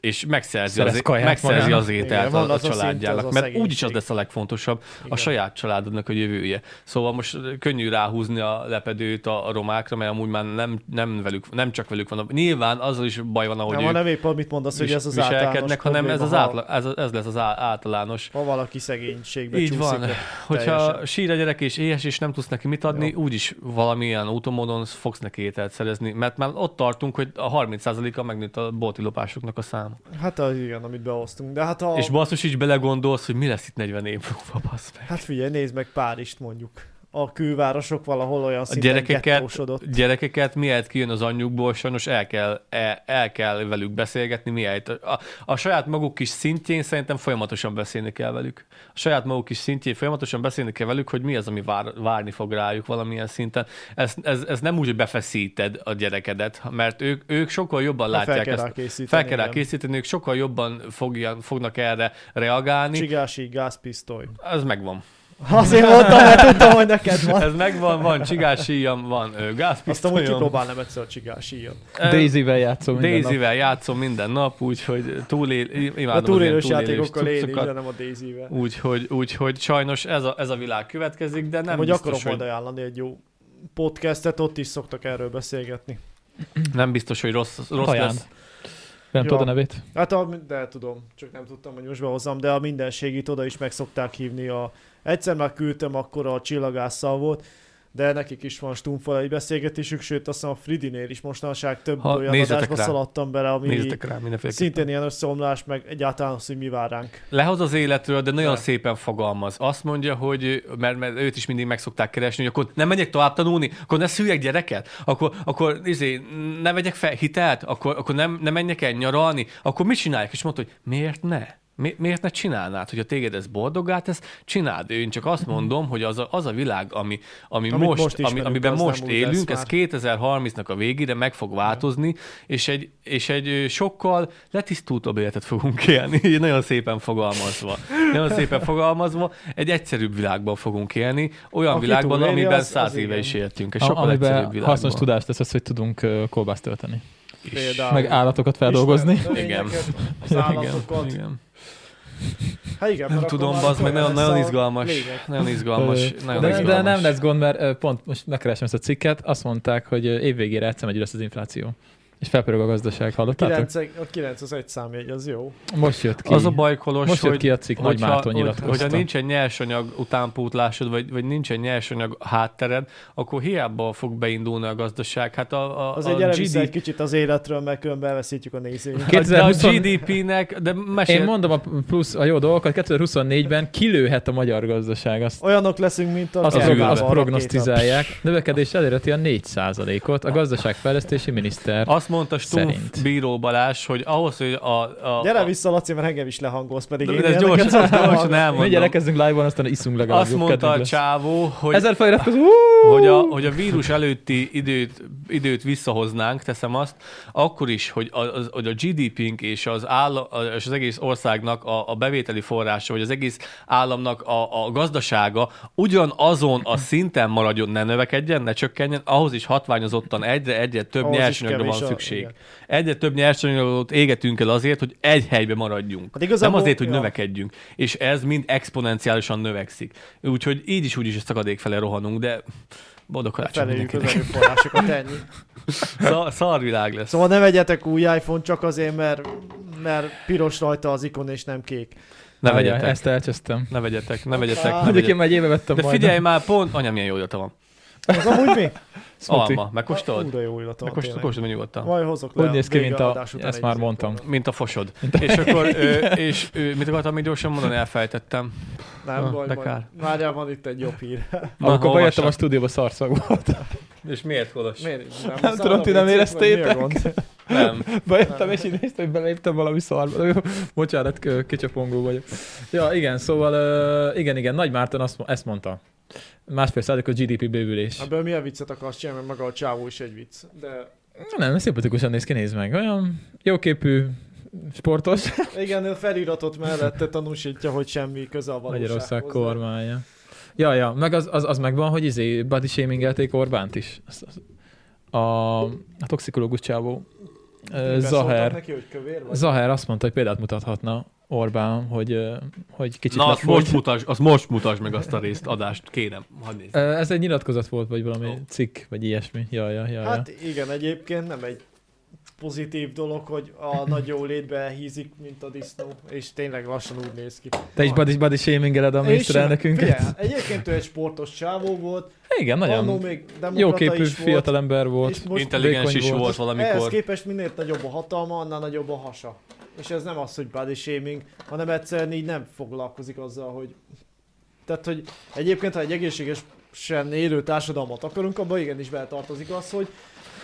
S2: és megszerzi,
S1: Szerez
S2: az,
S1: kaját
S2: megszerzi
S1: magának.
S2: az
S3: Igen,
S2: ételt
S3: van
S2: a, a
S3: az a szint,
S2: családjának,
S3: az a
S2: mert
S3: szegénység.
S2: úgyis az lesz a legfontosabb, a
S3: Igen.
S2: saját családodnak a jövője. Szóval most könnyű ráhúzni a lepedőt a a romákra, mert amúgy már nem, nem, velük, nem csak velük van. a- Nyilván azzal is baj van, ahogy
S3: Nem,
S2: ők
S3: hanem épp amit mondasz, hogy
S2: vis-
S3: ez az általános
S2: viselkednek, hanem ez, az
S3: probléma,
S2: átla, ez, ez lesz az á- általános
S3: Ha, ha valaki szegénységbe
S2: így
S3: csúszik.
S2: van.
S3: akkor
S2: Hogyha
S3: teljesen.
S2: sír a gyerek és éhes, és nem tudsz neki mit adni,
S3: Jó.
S2: úgyis valamilyen úton módon fogsz neki ételt szerezni, mert már ott tartunk, hogy a 30%-a megnőtt a bolti lopásoknak a száma.
S3: Hát az igen, amit behoztunk. De hát a...
S2: És basszus, így belegondolsz, hogy mi lesz itt 40 év múlva, bassz meg.
S3: Hát figyelj, nézd meg Párizst mondjuk. A külvárosok valahol olyan
S2: A
S3: szinten
S2: gyerekeket,
S3: gettósodott.
S2: gyerekeket mihelyt kijön az anyjukból, sajnos el kell, el, el kell velük beszélgetni, mihelyt. A, a saját maguk kis szintjén szerintem folyamatosan beszélni kell velük. A saját maguk kis szintjén folyamatosan beszélni kell velük, hogy mi az, ami vár, várni fog rájuk valamilyen szinten. Ez, ez, ez nem úgy, hogy befeszíted a gyerekedet, mert ők, ők sokkal jobban
S3: Na,
S2: látják
S3: fel kell rá
S2: ezt.
S3: készíteni.
S2: Fel kell rá
S3: igen.
S2: készíteni, ők sokkal jobban fogjan, fognak erre reagálni.
S3: Csigási gázpisztoly.
S2: Ez megvan.
S3: Azért mondtam, mert tudtam, hogy neked van.
S2: Ez megvan, van csigás íjam, van ö,
S3: Azt amúgy
S2: gázpisztolyom.
S3: kipróbálnám egyszer a csigás íjat.
S2: Ö,
S1: Daisy-vel játszom minden nap.
S2: Daisy-vel játszom minden nap, úgyhogy túlél, imádom
S3: A
S2: a túlélős
S3: túlélős
S2: az ilyen túlélős
S3: játékokkal élni, de
S2: cuccokat,
S3: nem a Daisy-vel.
S2: úgyhogy, úgyhogy sajnos ez a, ez a világ következik, de nem
S3: Hogy akarom
S2: biztos,
S3: majd
S2: hogy,
S3: ajánlani egy jó podcastet, ott is szoktak erről beszélgetni.
S2: nem biztos, hogy rossz, rossz
S1: Ajánl.
S2: lesz.
S1: Nem
S3: Ja.
S1: tudod a nevét?
S3: Hát, a, de tudom, csak nem tudtam, hogy most behozzam, de a mindenségit oda is meg szokták hívni. A, egyszer már küldtem, akkor a csillagásszal volt, de nekik is van stumfal egy beszélgetésük, sőt azt hiszem a Fridinél is mostanság több
S2: Ha,
S3: ha, olyan
S2: nézzetek
S3: adásba
S2: rá.
S3: szaladtam bele, ami
S2: Nézzetek rá mindenféleképpen.
S3: szintén ilyen összeomlás, meg egyáltalán az, hogy mi vár ránk.
S2: Lehoz az életről, de nagyon
S3: Nem.
S2: szépen fogalmaz. Azt mondja, hogy, mert, mert őt is mindig meg szokták keresni, hogy akkor nem megyek tovább tanulni, akkor ne szüljek gyereket, akkor, akkor izé, ne vegyek fel hitelt, akkor, akkor nem, nem menjek el nyaralni, akkor mit csinálják? És mondta, hogy miért ne? Mi, miért ne csinálnád? Hogyha téged ez boldogát, ez csináld. Én csak azt mondom, hogy az a, az a világ, ami, ami
S3: Amit
S2: most,
S3: most
S2: ami,
S3: ismerünk,
S2: amiben
S3: az nem
S2: most
S3: úgy lesz
S2: élünk, ez
S3: már.
S2: 2030-nak a végére meg fog változni, és egy, és egy ö, sokkal letisztultabb életet fogunk élni, így nagyon szépen fogalmazva. Nagyon szépen fogalmazva, egy egyszerűbb világban fogunk élni, olyan
S3: Aki
S2: világban,
S3: túléli,
S2: amiben
S3: az- az
S2: száz éve
S3: igen.
S2: is éltünk, egy
S1: A,
S2: sokkal egyszerűbb
S1: amiben
S2: világban.
S1: hasznos tudást tesz az, hogy tudunk ö, kolbászt tölteni.
S3: Például.
S1: Meg állatokat feldolgozni.
S3: Ismer-
S2: Igen.
S3: növényeket, Az
S2: Igen,
S3: állatokat.
S2: igen.
S3: Hát igen,
S2: Nem
S3: mert
S2: tudom,
S3: akkor már
S2: bazd meg,
S3: olyan
S2: nagyon, nagyon
S3: lesz a
S2: izgalmas.
S3: lényeg.
S2: Nagyon izgalmas.
S1: Ö,
S2: Nagyon
S1: de,
S2: izgalmas.
S1: de nem lesz gond, mert ö, pont most megkeresem ezt a cikket, azt mondták, hogy ö, évvégére egyszer megy lesz az infláció. És felpörög a gazdaság, hallottátok?
S3: 9, a 9 az egy számjegy, az jó.
S1: Most jött ki.
S2: Az a baj, Kolos,
S1: most jött
S2: hogy
S1: ki a cikk, Nagy Márton
S2: hogy-
S1: nyilatkozta.
S2: Hogyha nincsen nyersanyag utánpótlásod, vagy, vagy nincsen nyersanyag háttered, akkor hiába fog beindulni a gazdaság. Hát a, a,
S3: Az
S2: a
S3: egy
S2: GDP
S3: elvisz egy kicsit az életről, mert különben elveszítjük a nézőt.
S2: A- Hát, de a
S1: 2020
S2: GDP-nek, de mesél,
S1: Én mondom a plusz, a jó dolgokat, 2024-ben kilőhet a magyar gazdaság, azt
S3: Olyanok leszünk, mint a
S1: azt,
S2: az
S1: az
S2: űrben.
S3: Kerbában
S1: azt
S3: a
S1: prognosztizálják. Növekedés elérheti a 4%-ot. A gazdaságfejlesztési miniszter
S2: Azt mondta Stumpf
S1: Szerint.
S2: Bíró Balázs, hogy ahhoz, hogy a... a
S3: rakéta. Gyere
S2: a,
S3: vissza, Laci, mert engem is lehangolsz, pedig
S2: De
S3: én
S2: ez
S3: ilyeneket
S2: gyors,
S3: szoktam
S2: gyorsan
S3: hallgatni.
S1: Mindjárt
S2: elmondom.
S1: elkezdünk live-ban, aztán iszunk legalább.
S2: Azt mondta a csávó, hogy,
S1: Ezer feliratkozó.
S2: hogy, a, hogy a vírus előtti időt, időt visszahoznánk, teszem azt, akkor is, hogy a, az, hogy a GDP-nk és az, áll, és az egész országnak a, a bevételi forrása, vagy az egész államnak a, a gazdasága ugyanazon a szinten maradjon, ne növekedjen, ne csökkenjen, ahhoz is hatványozottan egyre, egyre több
S3: Ahhoz is
S2: nyersanyagra van
S3: kevés a-
S2: szükség.
S3: igen.
S2: Egyre több nyersanyagot égetünk el azért, hogy egy helybe maradjunk.
S3: Hát igazából-
S2: nem azért, hogy
S3: ja.
S2: növekedjünk. És ez mind exponenciálisan növekszik. Úgyhogy így is úgy is a szakadék fele rohanunk, de boldog
S3: Hát
S2: karácsony
S3: Feléjük az
S2: mindenkinek.
S3: erőforrásokat, ennyi.
S2: Szar, szarvilág lesz.
S3: Szóval ne vegyetek új iPhone csak azért, mert, mert piros rajta az ikon és nem kék.
S2: Ne vegyetek.
S1: Ezt elcsesztem.
S2: Ne vegyetek, ne vegyetek, ne
S1: Mondjuk én
S2: vegyetek.
S1: már egy éve vettem
S2: De
S1: majdnem.
S2: figyelj már, pont... Anya, milyen jó illata van.
S3: Az amúgy mi?
S1: Smoothie.
S2: Alma, megkóstold?
S3: Újra jó illata van
S2: Megkóstold,
S3: tényleg.
S2: kóstold meg nyugodtan.
S3: Majd hozok le.
S1: Úgy néz ki,
S3: vége
S1: mint a...
S3: adás után
S1: Ezt
S3: egy
S1: már
S3: izét.
S1: mondtam.
S2: Mint a fosod. És akkor, ö, és ö, mit akartam még gyorsan mondani? Elfejtettem. Ah,
S3: Nem baj,
S2: de
S3: baj.
S2: kár.
S3: Várjál, van itt egy jobb hír.
S2: Na,
S1: Amikor
S2: olvassad.
S1: bejöttem a stúdióba szarszag volt.
S2: És miért, Kolos?
S3: Miért?
S1: Nem tudom, ti nem éreztétek?
S2: Nem.
S1: Bejöttem, és így néztem, hogy beléptem valami szarba. Jó, Bocsánat, k- kicsapongó vagyok. Ja, igen, szóval ö, igen, igen, Nagy Márton azt, mo- ezt mondta. Másfél százalék a GDP bővülés.
S3: Ebből milyen viccet akarsz csinálni, mert maga a csávó is egy vicc. De
S1: Nem, szimpatikusan néz ki, nézd meg. Olyan jóképű, sportos
S3: igen, ő feliratot mellette tanúsítja, hogy semmi köze a valósághoz.
S1: Magyarország
S3: de-
S1: kormánya. Ja, ja, meg az, az, az megvan, hogy izé, body shamingelték Orbánt is. Az- az- A, a toxikológus csávó Ö,
S3: Miben szóltak
S1: Zaher.
S3: neki, hogy kövér vagy?
S1: Zaher azt mondta, hogy példát mutathatna Orbán, hogy, ö, hogy kicsit
S2: Na, azt
S1: lefordít.
S2: most, mutasd, azt most mutasd meg azt a részt, adást, kérem, hadd nézd.
S1: Ö, Ez egy nyilatkozat volt, vagy valami
S2: Ó.
S1: cikk, vagy ilyesmi. Ja, ja, ja, ja.
S3: Hát igen, egyébként nem egy pozitív dolog, hogy a nagy jólétbe hízik, mint a disznó, és tényleg lassan úgy néz ki.
S1: Te is body, body shamingeled a
S3: És
S1: miniszterelnökünket?
S3: figyelj, Egyébként ő egy sportos csávó volt,
S1: Hát Igen,
S3: annó
S1: nagyon
S3: még demokrata
S1: jóképű
S3: is volt,
S1: fiatalember volt.
S3: és most
S2: Intelligens
S1: vékony
S2: is
S1: volt.
S2: volt
S3: ehhez
S2: valamikor.
S3: képest minél nagyobb a hatalma, annál nagyobb a hasa. És ez nem az, hogy body shaming, hanem egyszerűen így nem foglalkozik azzal, hogy... Tehát, hogy egyébként, ha egy egészségesen élő társadalmat akarunk, abban igenis beletartozik az, hogy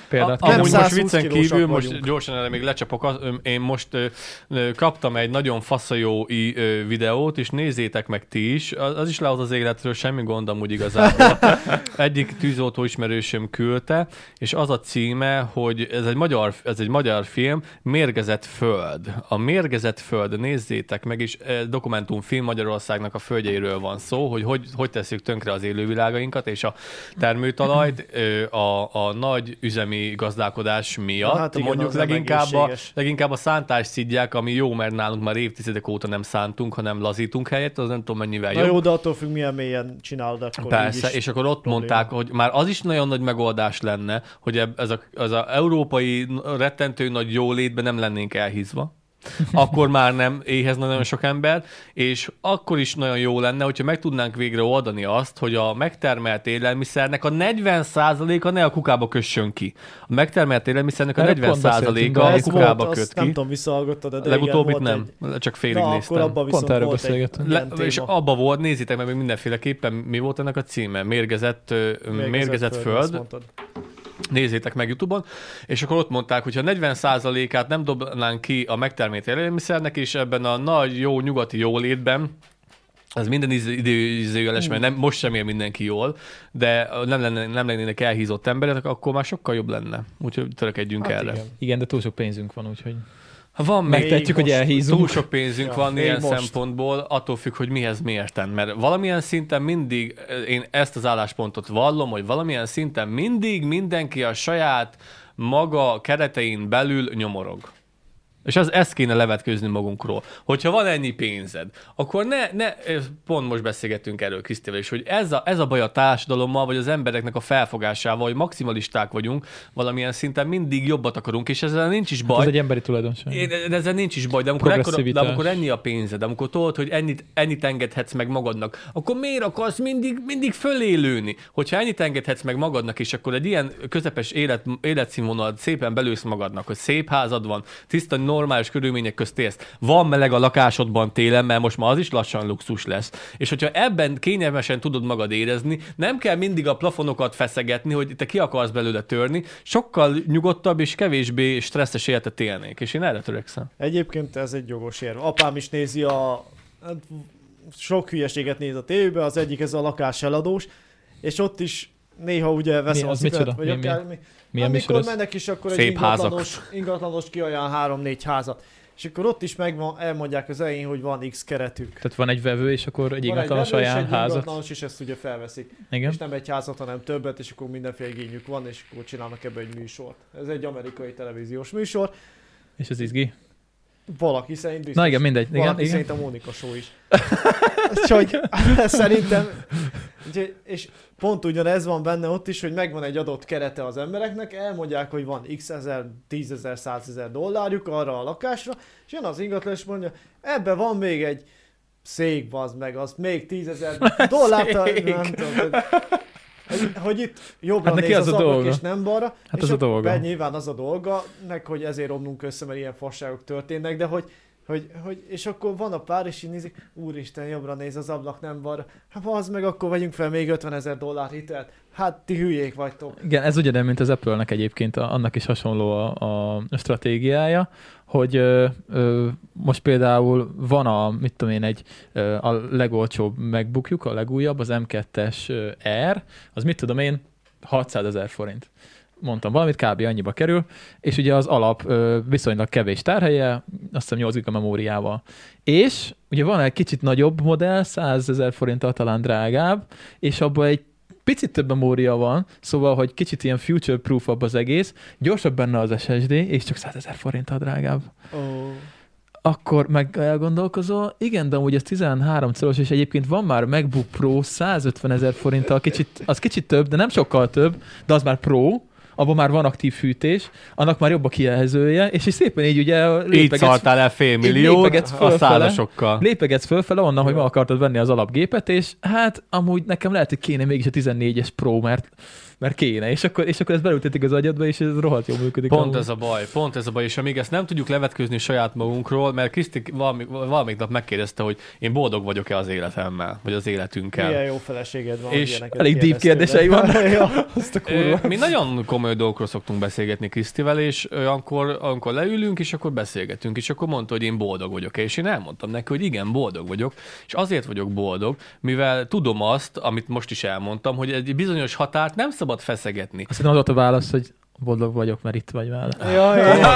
S1: Példát
S3: a- nem
S2: Amúgy
S1: kapott.
S2: most
S3: 120
S2: viccen
S3: kilósak
S2: kívül, most
S3: vagyunk.
S2: gyorsan erre még lecsapok, az- öm, én most ö, ö, kaptam egy nagyon faszajó i- ö, videót, és nézzétek meg ti is, az, az is lehoz az életről, semmi gondom úgy igazából. Egyik tűzoltó ismerősöm küldte, és az a címe, hogy ez egy magyar, ez egy magyar film, Mérgezett Föld. A Mérgezett Föld, nézzétek meg, és eh, dokumentumfilm Magyarországnak a földjeiről van szó, hogy hogy, hogy tesszük tönkre az élővilágainkat és a termőtalajt ö, a, a nagy üzemi gazdálkodás miatt.
S3: Na hát igen,
S2: mondjuk
S3: az nem
S2: leginkább a,
S3: egészséges.
S2: leginkább a szántást szidják, ami jó, mert nálunk már évtizedek óta nem szántunk, hanem lazítunk helyett, az nem tudom mennyivel
S3: Na
S2: jobb.
S3: jó, de attól függ, milyen mélyen csinálod akkor
S2: Persze,
S3: így is.
S2: és akkor ott
S3: probléma.
S2: mondták, hogy már az is nagyon nagy megoldás lenne, hogy eb- ez a, ez a európai rettentő nagy jólétben nem lennénk elhízva. akkor már nem éhezne nagyon sok ember, és akkor is nagyon jó lenne, hogyha meg tudnánk végre oldani azt, hogy a megtermelt élelmiszernek a 40%-a ne a kukába kössön ki. A megtermelt élelmiszernek a
S1: Erről pont beszéltünk,
S2: 40%-a
S1: de
S2: a
S1: ez
S2: kukába
S3: hát azt
S2: köt
S3: Nem
S2: ki.
S3: tudom, visszahallgattad, de
S2: Legutóbbit
S3: igen, volt
S2: nem, csak
S3: Egy...
S2: félig
S3: Na,
S2: néztem.
S3: akkor abban viszont
S1: Pont erről
S3: volt egy
S1: beszélgettünk.
S2: Le,
S3: ilyen
S2: és
S3: téma.
S2: abba volt, nézzétek meg még mindenféleképpen, mi volt ennek a címe? Mérgezett, ö, mérgezett, mérgezett
S3: azt
S2: föld.
S3: mondtad.
S2: Nézzétek meg YouTube-on. És akkor ott mondták, hogy ha 40%-át nem dobnánk ki a megtermelt élelmiszernek, és ebben a nagy, jó, nyugati jólétben, ez minden íz- időzőjeles, mert nem, most sem él mindenki jól, de ö, nem, lenne, nem lennének elhízott emberek, akkor már sokkal jobb lenne. Úgyhogy törekedjünk
S3: Hát
S2: erre.
S3: igen.
S1: Igen, de túl sok pénzünk van, úgyhogy
S2: Ha van még
S1: megtehetjük, hogy
S3: most
S2: Túl
S1: elhízunk.
S2: sok pénzünk
S3: Ja,
S2: van
S3: még
S2: ilyen
S3: most.
S2: szempontból, attól függ, hogy mihez mi értem. Mert valamilyen szinten mindig, eh, én ezt az álláspontot vallom, hogy valamilyen szinten mindig mindenki a saját maga keretein belül nyomorog. És ez, ezt kéne levetkőzni magunkról. Hogyha van ennyi pénzed, akkor ne, ne eh, pont most beszélgettünk erről Krisztivel is, hogy ez a, ez a baj a társadalommal, vagy az embereknek a felfogásával, hogy maximalisták vagyunk, valamilyen szinten mindig jobbat akarunk, és ezzel nincs is baj.
S1: Ez egy emberi tulajdonság.
S2: Én, de ezzel nincs is baj, de amikor, ekkora, de
S1: Progresszivitás.
S2: amikor ennyi a pénzed, amikor tudod, hogy ennyit, ennyit engedhetsz meg magadnak, akkor miért akarsz mindig, mindig fölélőni? Hogyha ennyit engedhetsz meg magadnak, és akkor egy ilyen közepes élet, életszínvonalat szépen belősz magadnak, hogy szép házad van, tiszta, normális körülmények közt élsz, van meleg a lakásodban télen, mert most már az is lassan luxus lesz. És hogyha ebben kényelmesen tudod magad érezni, nem kell mindig a plafonokat feszegetni, hogy te ki akarsz belőle törni, sokkal nyugodtabb és kevésbé stresszes életet élnék, és én erre törekszem.
S3: Egyébként ez egy jogos érv. Apám is nézi a... hát, Sok hülyeséget néz a tévébe, az egyik ez a lakás eladós, és ott is néha ugye veszem
S1: Mi,
S3: a
S1: az
S3: szüvet,
S1: micsoda?
S3: vagy
S1: Mi, mi?
S3: akármi.
S1: Milyen
S3: Amikor
S1: műsor ez?
S3: mennek is, akkor egy
S2: Szép
S3: ingatlanos, ingatlanos ki olyan három-négy házat. És akkor ott is megvan, elmondják az elején, hogy van X keretük.
S1: Tehát van egy vevő, és akkor egy
S3: van
S1: ingatlanos
S3: egy vevő és
S1: ajánl
S3: egy
S1: házat.
S3: ingatlanos, és ezt ugye felveszik.
S1: Igen.
S3: És nem egy házat, hanem többet, és akkor mindenféle igényük van, és akkor csinálnak ebből egy műsort. Ez egy amerikai televíziós műsor.
S1: És az izgi.
S3: Valaki szerint biztos.
S1: Na igen, mindegy. Igen,
S3: valaki
S1: igen.
S3: szerint a Mónika show is. Úgyhogy szerintem... Úgyhogy, és pont ugyanez van benne ott is, hogy megvan egy adott kerete az embereknek, elmondják, hogy van x ezer, tízezer, százezer dollárjuk arra a lakásra, és jön az ingatlan, és mondja, ebbe van még egy szék, bazd meg, az még tízezer dollárt,
S1: Szék.
S3: nem tudom, tehát- hogy, hogy itt jobbra
S1: Hát neki
S3: néz
S1: az
S3: az,
S1: a
S3: ablak,
S1: dolga.
S3: és nem balra.
S1: Hát
S3: és
S1: az a
S3: akkor
S1: dolga.
S3: Nyilván az a dolga, meg hogy ezért romlunk össze, mert ilyen fasságok történnek, de hogy hogy, hogy, és akkor van a pár, és így nézik, úristen, jobbra néz az ablak, nem balra. Hát az meg, akkor vegyünk fel még 50 ezer dollár hitelt. Hát ti hülyék vagytok.
S1: Igen, ez ugyanilyen, mint az Apple-nek egyébként, a- annak is hasonló a, a stratégiája, hogy ö, ö, most például van a, mit tudom én, egy ö, a legolcsóbb megbukjuk, a legújabb, az M2-es ö, R, az mit tudom én, 600 ezer forint. Mondtam valamit, kb. annyiba kerül, és ugye az alap ö, viszonylag kevés tárhelye, azt hiszem 8 giga memóriával. És ugye van egy kicsit nagyobb modell, 100 ezer forinttal talán drágább, és abban egy Picit több memória van, szóval, hogy kicsit ilyen future-proofabb az egész, gyorsabb benne az SSD, és csak 100 ezer forint a drágább.
S3: Oh.
S1: Akkor meg elgondolkozol, igen, de amúgy ez 13 colos, és egyébként van már MacBook Pro 150 ezer forinttal, kicsit, az kicsit több, de nem sokkal több, de az már Pro, abban már van aktív fűtés, annak már jobb a kijelzője, és így szépen így ugye
S2: Így
S1: lépegetsz,
S2: szartál el fél
S1: így
S2: milliót
S1: lépegetsz
S2: a
S1: fölfele.
S2: százasokkal.
S1: lépegetsz fölfele onnan, hogy ma akartad venni az alapgépet, és hát amúgy nekem lehet, hogy kéne mégis a 14-es Pro, mert, mert kéne, és akkor, és akkor ezt belültetik az agyadba, és ez rohadt jól működik.
S2: Pont
S1: amúgy.
S2: ez a baj, pont ez a baj, és amíg ezt nem tudjuk levetkőzni saját magunkról, mert Kriszti valami, valamelyik nap megkérdezte, hogy én boldog vagyok-e az életemmel, vagy az életünkkel.
S3: Milyen jó feleséged van,
S2: És
S3: hogy ilyeneket
S1: elég deep
S3: kérdeztél
S1: kérdései
S3: meg. ja, azt a
S2: Ö,
S3: kurva.
S2: Mi nagyon komoly dolgokról szoktunk beszélgetni Krisztivel, és olyankor, amikor leülünk, és akkor beszélgetünk, és akkor mondta, hogy én boldog vagyok, és én elmondtam neki, hogy igen, boldog vagyok, és azért vagyok boldog, mivel tudom azt, amit most is elmondtam, hogy egy bizonyos határt nem szabad feszegetni.
S1: Azt hiszem, az volt a válasz, hogy boldog vagyok, mert itt vagy vele.
S3: Ja, ja.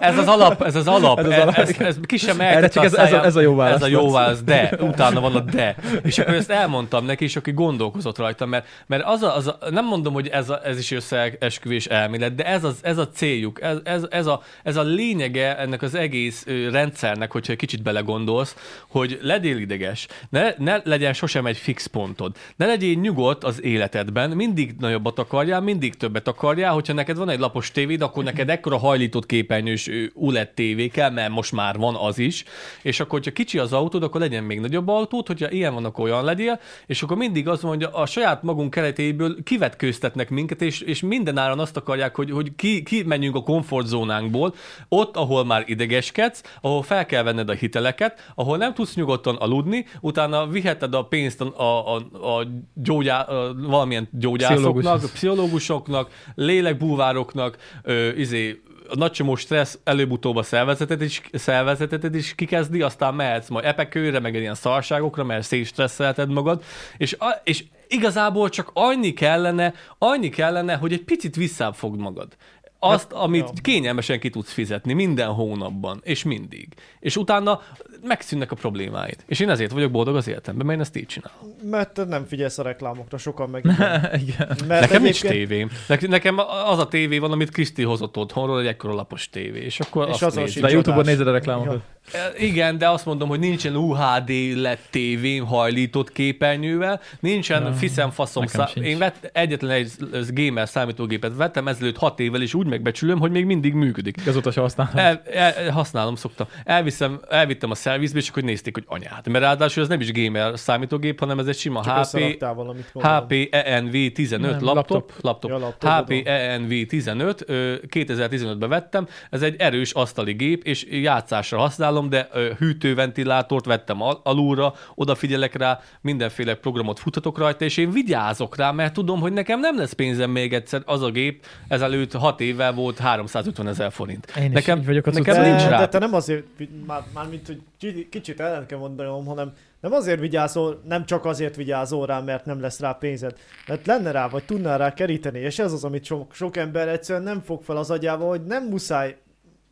S2: Ez az alap, ez az alap, ez,
S1: Ez
S2: az
S1: az
S2: alap.
S1: alap.
S2: ez, ez ki sem
S1: Erre
S2: ejtett
S1: csak ez, ez, a, ez a jó válasz.
S2: Ez a jó
S1: lesz.
S2: válasz, de. Utána van a de. És akkor ezt elmondtam neki, és aki gondolkozott rajta, mert, mert az, a, az a, nem mondom, hogy ez, a, ez is összeesküvés elmélet, de ez, az, ez a céljuk, ez, ez, ez, a, ez a lényege ennek az egész ö, rendszernek, hogyha egy kicsit belegondolsz, hogy legyél ideges, ne, ne legyen sosem egy fix pontod, ne legyél nyugodt az életedben, mindig nagyobbat akarjál, mindig többet akarjál, hogyha neked van egy lapos tévéd, akkor neked ekkora hajlított képernyős ö, OLED tévé kell, mert most már van az is, és akkor, hogyha kicsi az autód, akkor legyen még nagyobb autód, hogyha ilyen van, akkor olyan legyél, és akkor mindig az mondja, a saját magunk keretéből kivetkőztetnek minket, és, és mindenáron azt akarják, hogy, hogy ki, ki menjünk a komfortzónánkból, ott, ahol már idegeskedsz, ahol fel kell venned a hiteleket, ahol nem tudsz nyugodtan aludni, utána viheted a pénzt a, a, a, a, gyógyá, a valamilyen gyógyászoknak,
S1: Pszichológushoz.
S2: pszichológusoknak, lélekbúvároknak, ö, izé, a nagy csomó stressz előbb-utóbb a szervezetet is, szervezetet is kikezdi, aztán mehetsz majd epekőre, meg ilyen szarságokra, mert szétstresszelted magad, és, a, és igazából csak annyi kellene, annyi kellene, hogy egy picit visszább fogd magad. Azt, amit
S3: ja.
S2: kényelmesen ki tudsz fizetni minden hónapban, és mindig. És utána megszűnnek a problémáid. És én ezért vagyok boldog az életemben, mert én ezt így csinálom.
S3: Mert te nem figyelsz a reklámokra, sokan meg igen.
S1: Igen.
S3: Mert
S2: Nekem nincs
S3: egyébként-
S2: tévém. Ne- Nekem az a tévé van, amit Kriszti hozott otthonról, egy ekkora lapos tévé. És akkor
S3: És
S2: azt
S3: azon
S2: nézem.
S1: De
S3: Nincs
S1: Youtube-on
S3: adás.
S1: nézed a reklámokat.
S2: E, Igen, de azt mondom, hogy nincsen UHD lett tévém hajlított képernyővel, nincsen
S1: Ja,
S2: fiszem faszom.
S1: nekem
S2: Szá-
S1: sincs.
S2: én vett, egyetlen egy z- gamer számítógépet vettem ezelőtt hat évvel, és úgy megbecsülöm, hogy még mindig működik.
S1: Azóta sem használom.
S2: El, el, használom, szoktam. Elviszem, elvittem a szervizbe, és akkor nézték, hogy anyád. Mert ráadásul ez nem is gamer számítógép, hanem ez egy sima
S3: Csak
S2: HP,
S3: összeraktál valamit, gondolom.
S2: HP ENV 15
S1: Nem,
S2: laptop,
S1: laptop.
S2: laptop, laptop. E
S3: Ja,
S2: HP
S3: laptopod van.
S2: ENV 15, ö, 2015-ben vettem, ez egy erős asztali gép, és játszásra használom, de ö, hűtőventilátort vettem al- alulra, odafigyelek rá, mindenféle programot futhatok rajta, és én vigyázok rá, mert tudom, hogy nekem nem lesz pénzem még egyszer az a gép, ezelőtt 6 évvel volt 350 ezer forint.
S1: Én is
S2: nekem
S1: így vagyok a
S2: nekem
S1: cuccokon.
S2: nincs
S3: de,
S2: rá.
S3: de te nem azért, már, már mint hogy ki- kicsit ellen kell mondanom, hanem nem azért vigyázol, nem csak azért vigyázol rá, mert nem lesz rá pénzed, mert lenne rá, vagy tudnál rá keríteni, és ez az, amit sok, sok ember egyszerűen nem fog fel az agyába, hogy nem muszáj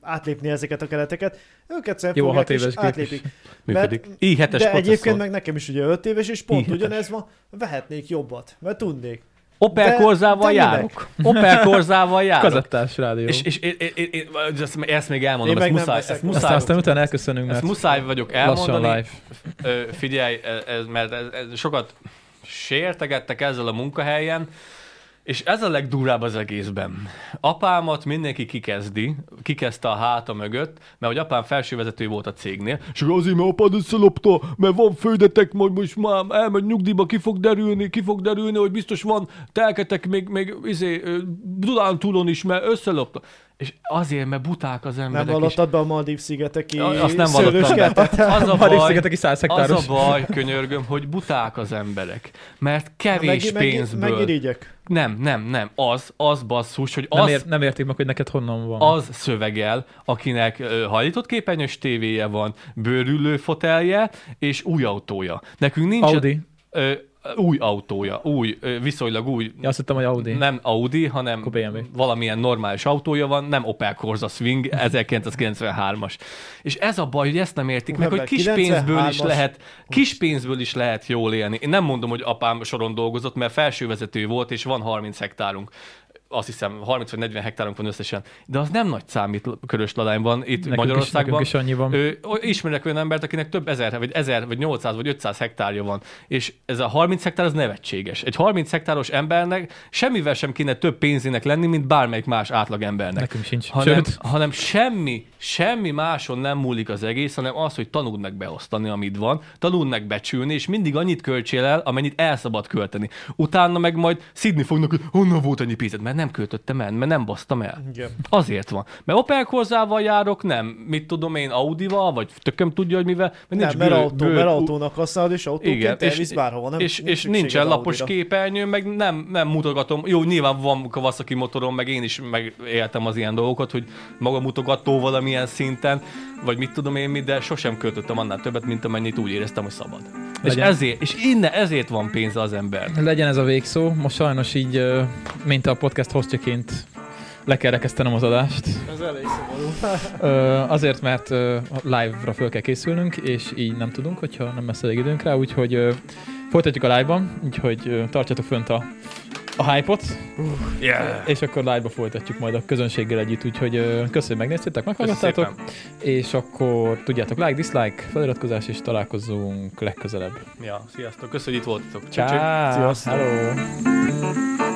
S3: átlépni ezeket a kereteket, ők egyszerűen
S1: Jó, a
S3: fogják
S1: hat éves
S3: és
S1: gép is
S3: átlépik.
S2: Működik.
S3: Mert-
S2: i7-es
S3: De egyébként
S2: processzor.
S3: meg nekem is ugye 5 éves, és pont
S2: I7-es.
S3: ugyanez van, vehetnék jobbat, mert tudnék.
S2: Opel
S3: de-
S2: Corzával
S3: de minek?
S2: járok. Opel Corzával járok.
S1: Kazettás rádió.
S2: És, és, és, és, és, és ezt még elmondom,
S3: Én
S2: ezt
S3: meg nem
S2: muszáj,
S3: veszek
S2: ezt
S3: most.
S1: Aztán,
S2: muszáj,
S1: aztán utána elköszönünk,
S2: ezt
S1: mert
S2: muszáj vagyok
S1: lassan
S2: elmondani.
S1: live.
S2: Ö, figyelj, ez, ez, mert ez, ez sokat sértegettek ezzel a munkahelyen, és ez a legdurább az egészben. Apámat mindenki kikezdi, kikezdte a háta mögött, mert hogy apám felsővezető volt a cégnél, és akkor azért, mert apád összelopta, mert van földetek, majd most már elmegy nyugdíjba, ki fog derülni, ki fog derülni, hogy biztos van telketek még, még izé, ö, Dunántúlon is, mert összelopta. És azért, mert buták az
S3: Nem
S2: emberek is.
S3: vallottad be a Maldív szigeteki
S2: Ja, Azt nem vallottam be.
S3: szőlőskertet?
S2: Az a
S1: Már is
S2: baj,
S1: szigetek is 100
S2: az a
S1: hektáros.
S2: baj, könyörgöm, hogy buták az emberek. Mert kevés
S3: Meg- meg-
S2: pénzből.
S3: Megirigyek.
S2: Nem, nem, nem. Az, az basszus, hogy
S1: Nem,
S2: az,
S1: ér, nem értik meg, hogy neked honnan van.
S2: az szövegel, akinek ö, hajlított képernyős tévéje van, bőrülő fotelje és új autója. Nekünk nincs...
S1: Audi.
S2: Ö, új autója, új, ö, viszonylag új,
S1: Ja, azt hittem, hogy Audi.
S2: nem Audi, hanem
S1: Akkor BMW.
S2: valamilyen normális autója van, nem Opel Corsa Swing 1993-as. És ez a baj, hogy ezt nem értik meg, hogy
S3: Ember,
S2: kis pénzből is
S3: 93-as.
S2: lehet, kis pénzből is lehet jól élni. Én nem mondom, hogy apám soron dolgozott, mert felsővezető volt, és van 30 hektárunk azt hiszem 30 vagy 40 hektárunk van összesen, de az nem nagy számít körös ladányban itt
S1: Nekünk is-
S2: Magyarországban.
S1: nekünk is annyi van.
S2: Ö, o- ismerek olyan embert, akinek több ezer, vagy ezer, vagy 800, vagy 500 hektárja van, és ez a 30 hektár az nevetséges. Egy 30 hektáros embernek semmivel sem kéne több pénzének lenni, mint bármelyik más átlagembernek.
S1: Nekünk sincs.
S2: Hanem,
S1: Sőt.
S2: hanem semmi, semmi máson nem múlik az egész, hanem az, hogy tanuld meg beosztani, amit van, tanuld meg becsülni, és mindig annyit költsél el, amennyit el szabad költeni. Utána meg majd szidni fognak, hogy honnan volt annyi pénzed, mert nem költöttem el, mert nem basztam el.
S3: Igen.
S2: Azért van. Mert Opel Corzával járok, nem, mit tudom én, Audival, vagy tököm tudja, hogy mivel, mert nincs
S3: Nem, mert,
S2: bő-
S3: autó,
S2: bő-
S3: mert autónak használod, és
S2: igen,
S3: autóként
S2: és,
S3: elvisz bárhova. Nem,
S2: és, és
S3: szükséged
S2: nincsen lapos
S3: Audira.
S2: képernyő, meg nem, nem mutogatom. Jó, nyilván van Kawasaki motorom, meg én is megéltem az ilyen dolgokat, hogy maga mutogató valamilyen szinten, vagy mit tudom én mit, de sosem költöttem annál többet, mint amennyit úgy éreztem, hogy szabad.
S1: Legyen.
S2: És ezért, és innen ezért van pénze az ember.
S1: Legyen ez a végszó. Most sajnos így, ö, mint a podcast hostjaként le kell rekesztenem az adást.
S3: Ez elég szomorú.
S1: Ö, Azért, mert ö, live-ra föl kell készülnünk, és így nem tudunk, hogyha nem lesz elég időnk rá, úgyhogy ö, folytatjuk a live-ban, úgyhogy ö, tartjatok fönt a, a hype-ot,
S2: Yeah.
S1: és akkor live-ba folytatjuk majd a közönséggel együtt, úgyhogy ö, köszönöm, hogy megnéztétek, meghallgattátok, és akkor tudjátok, like, dislike, feliratkozás, és találkozunk legközelebb.
S2: Ja, sziasztok, köszönjük, hogy itt voltatok. Cső, cső.
S1: Ciao.
S3: Sziasztok.
S1: Hello!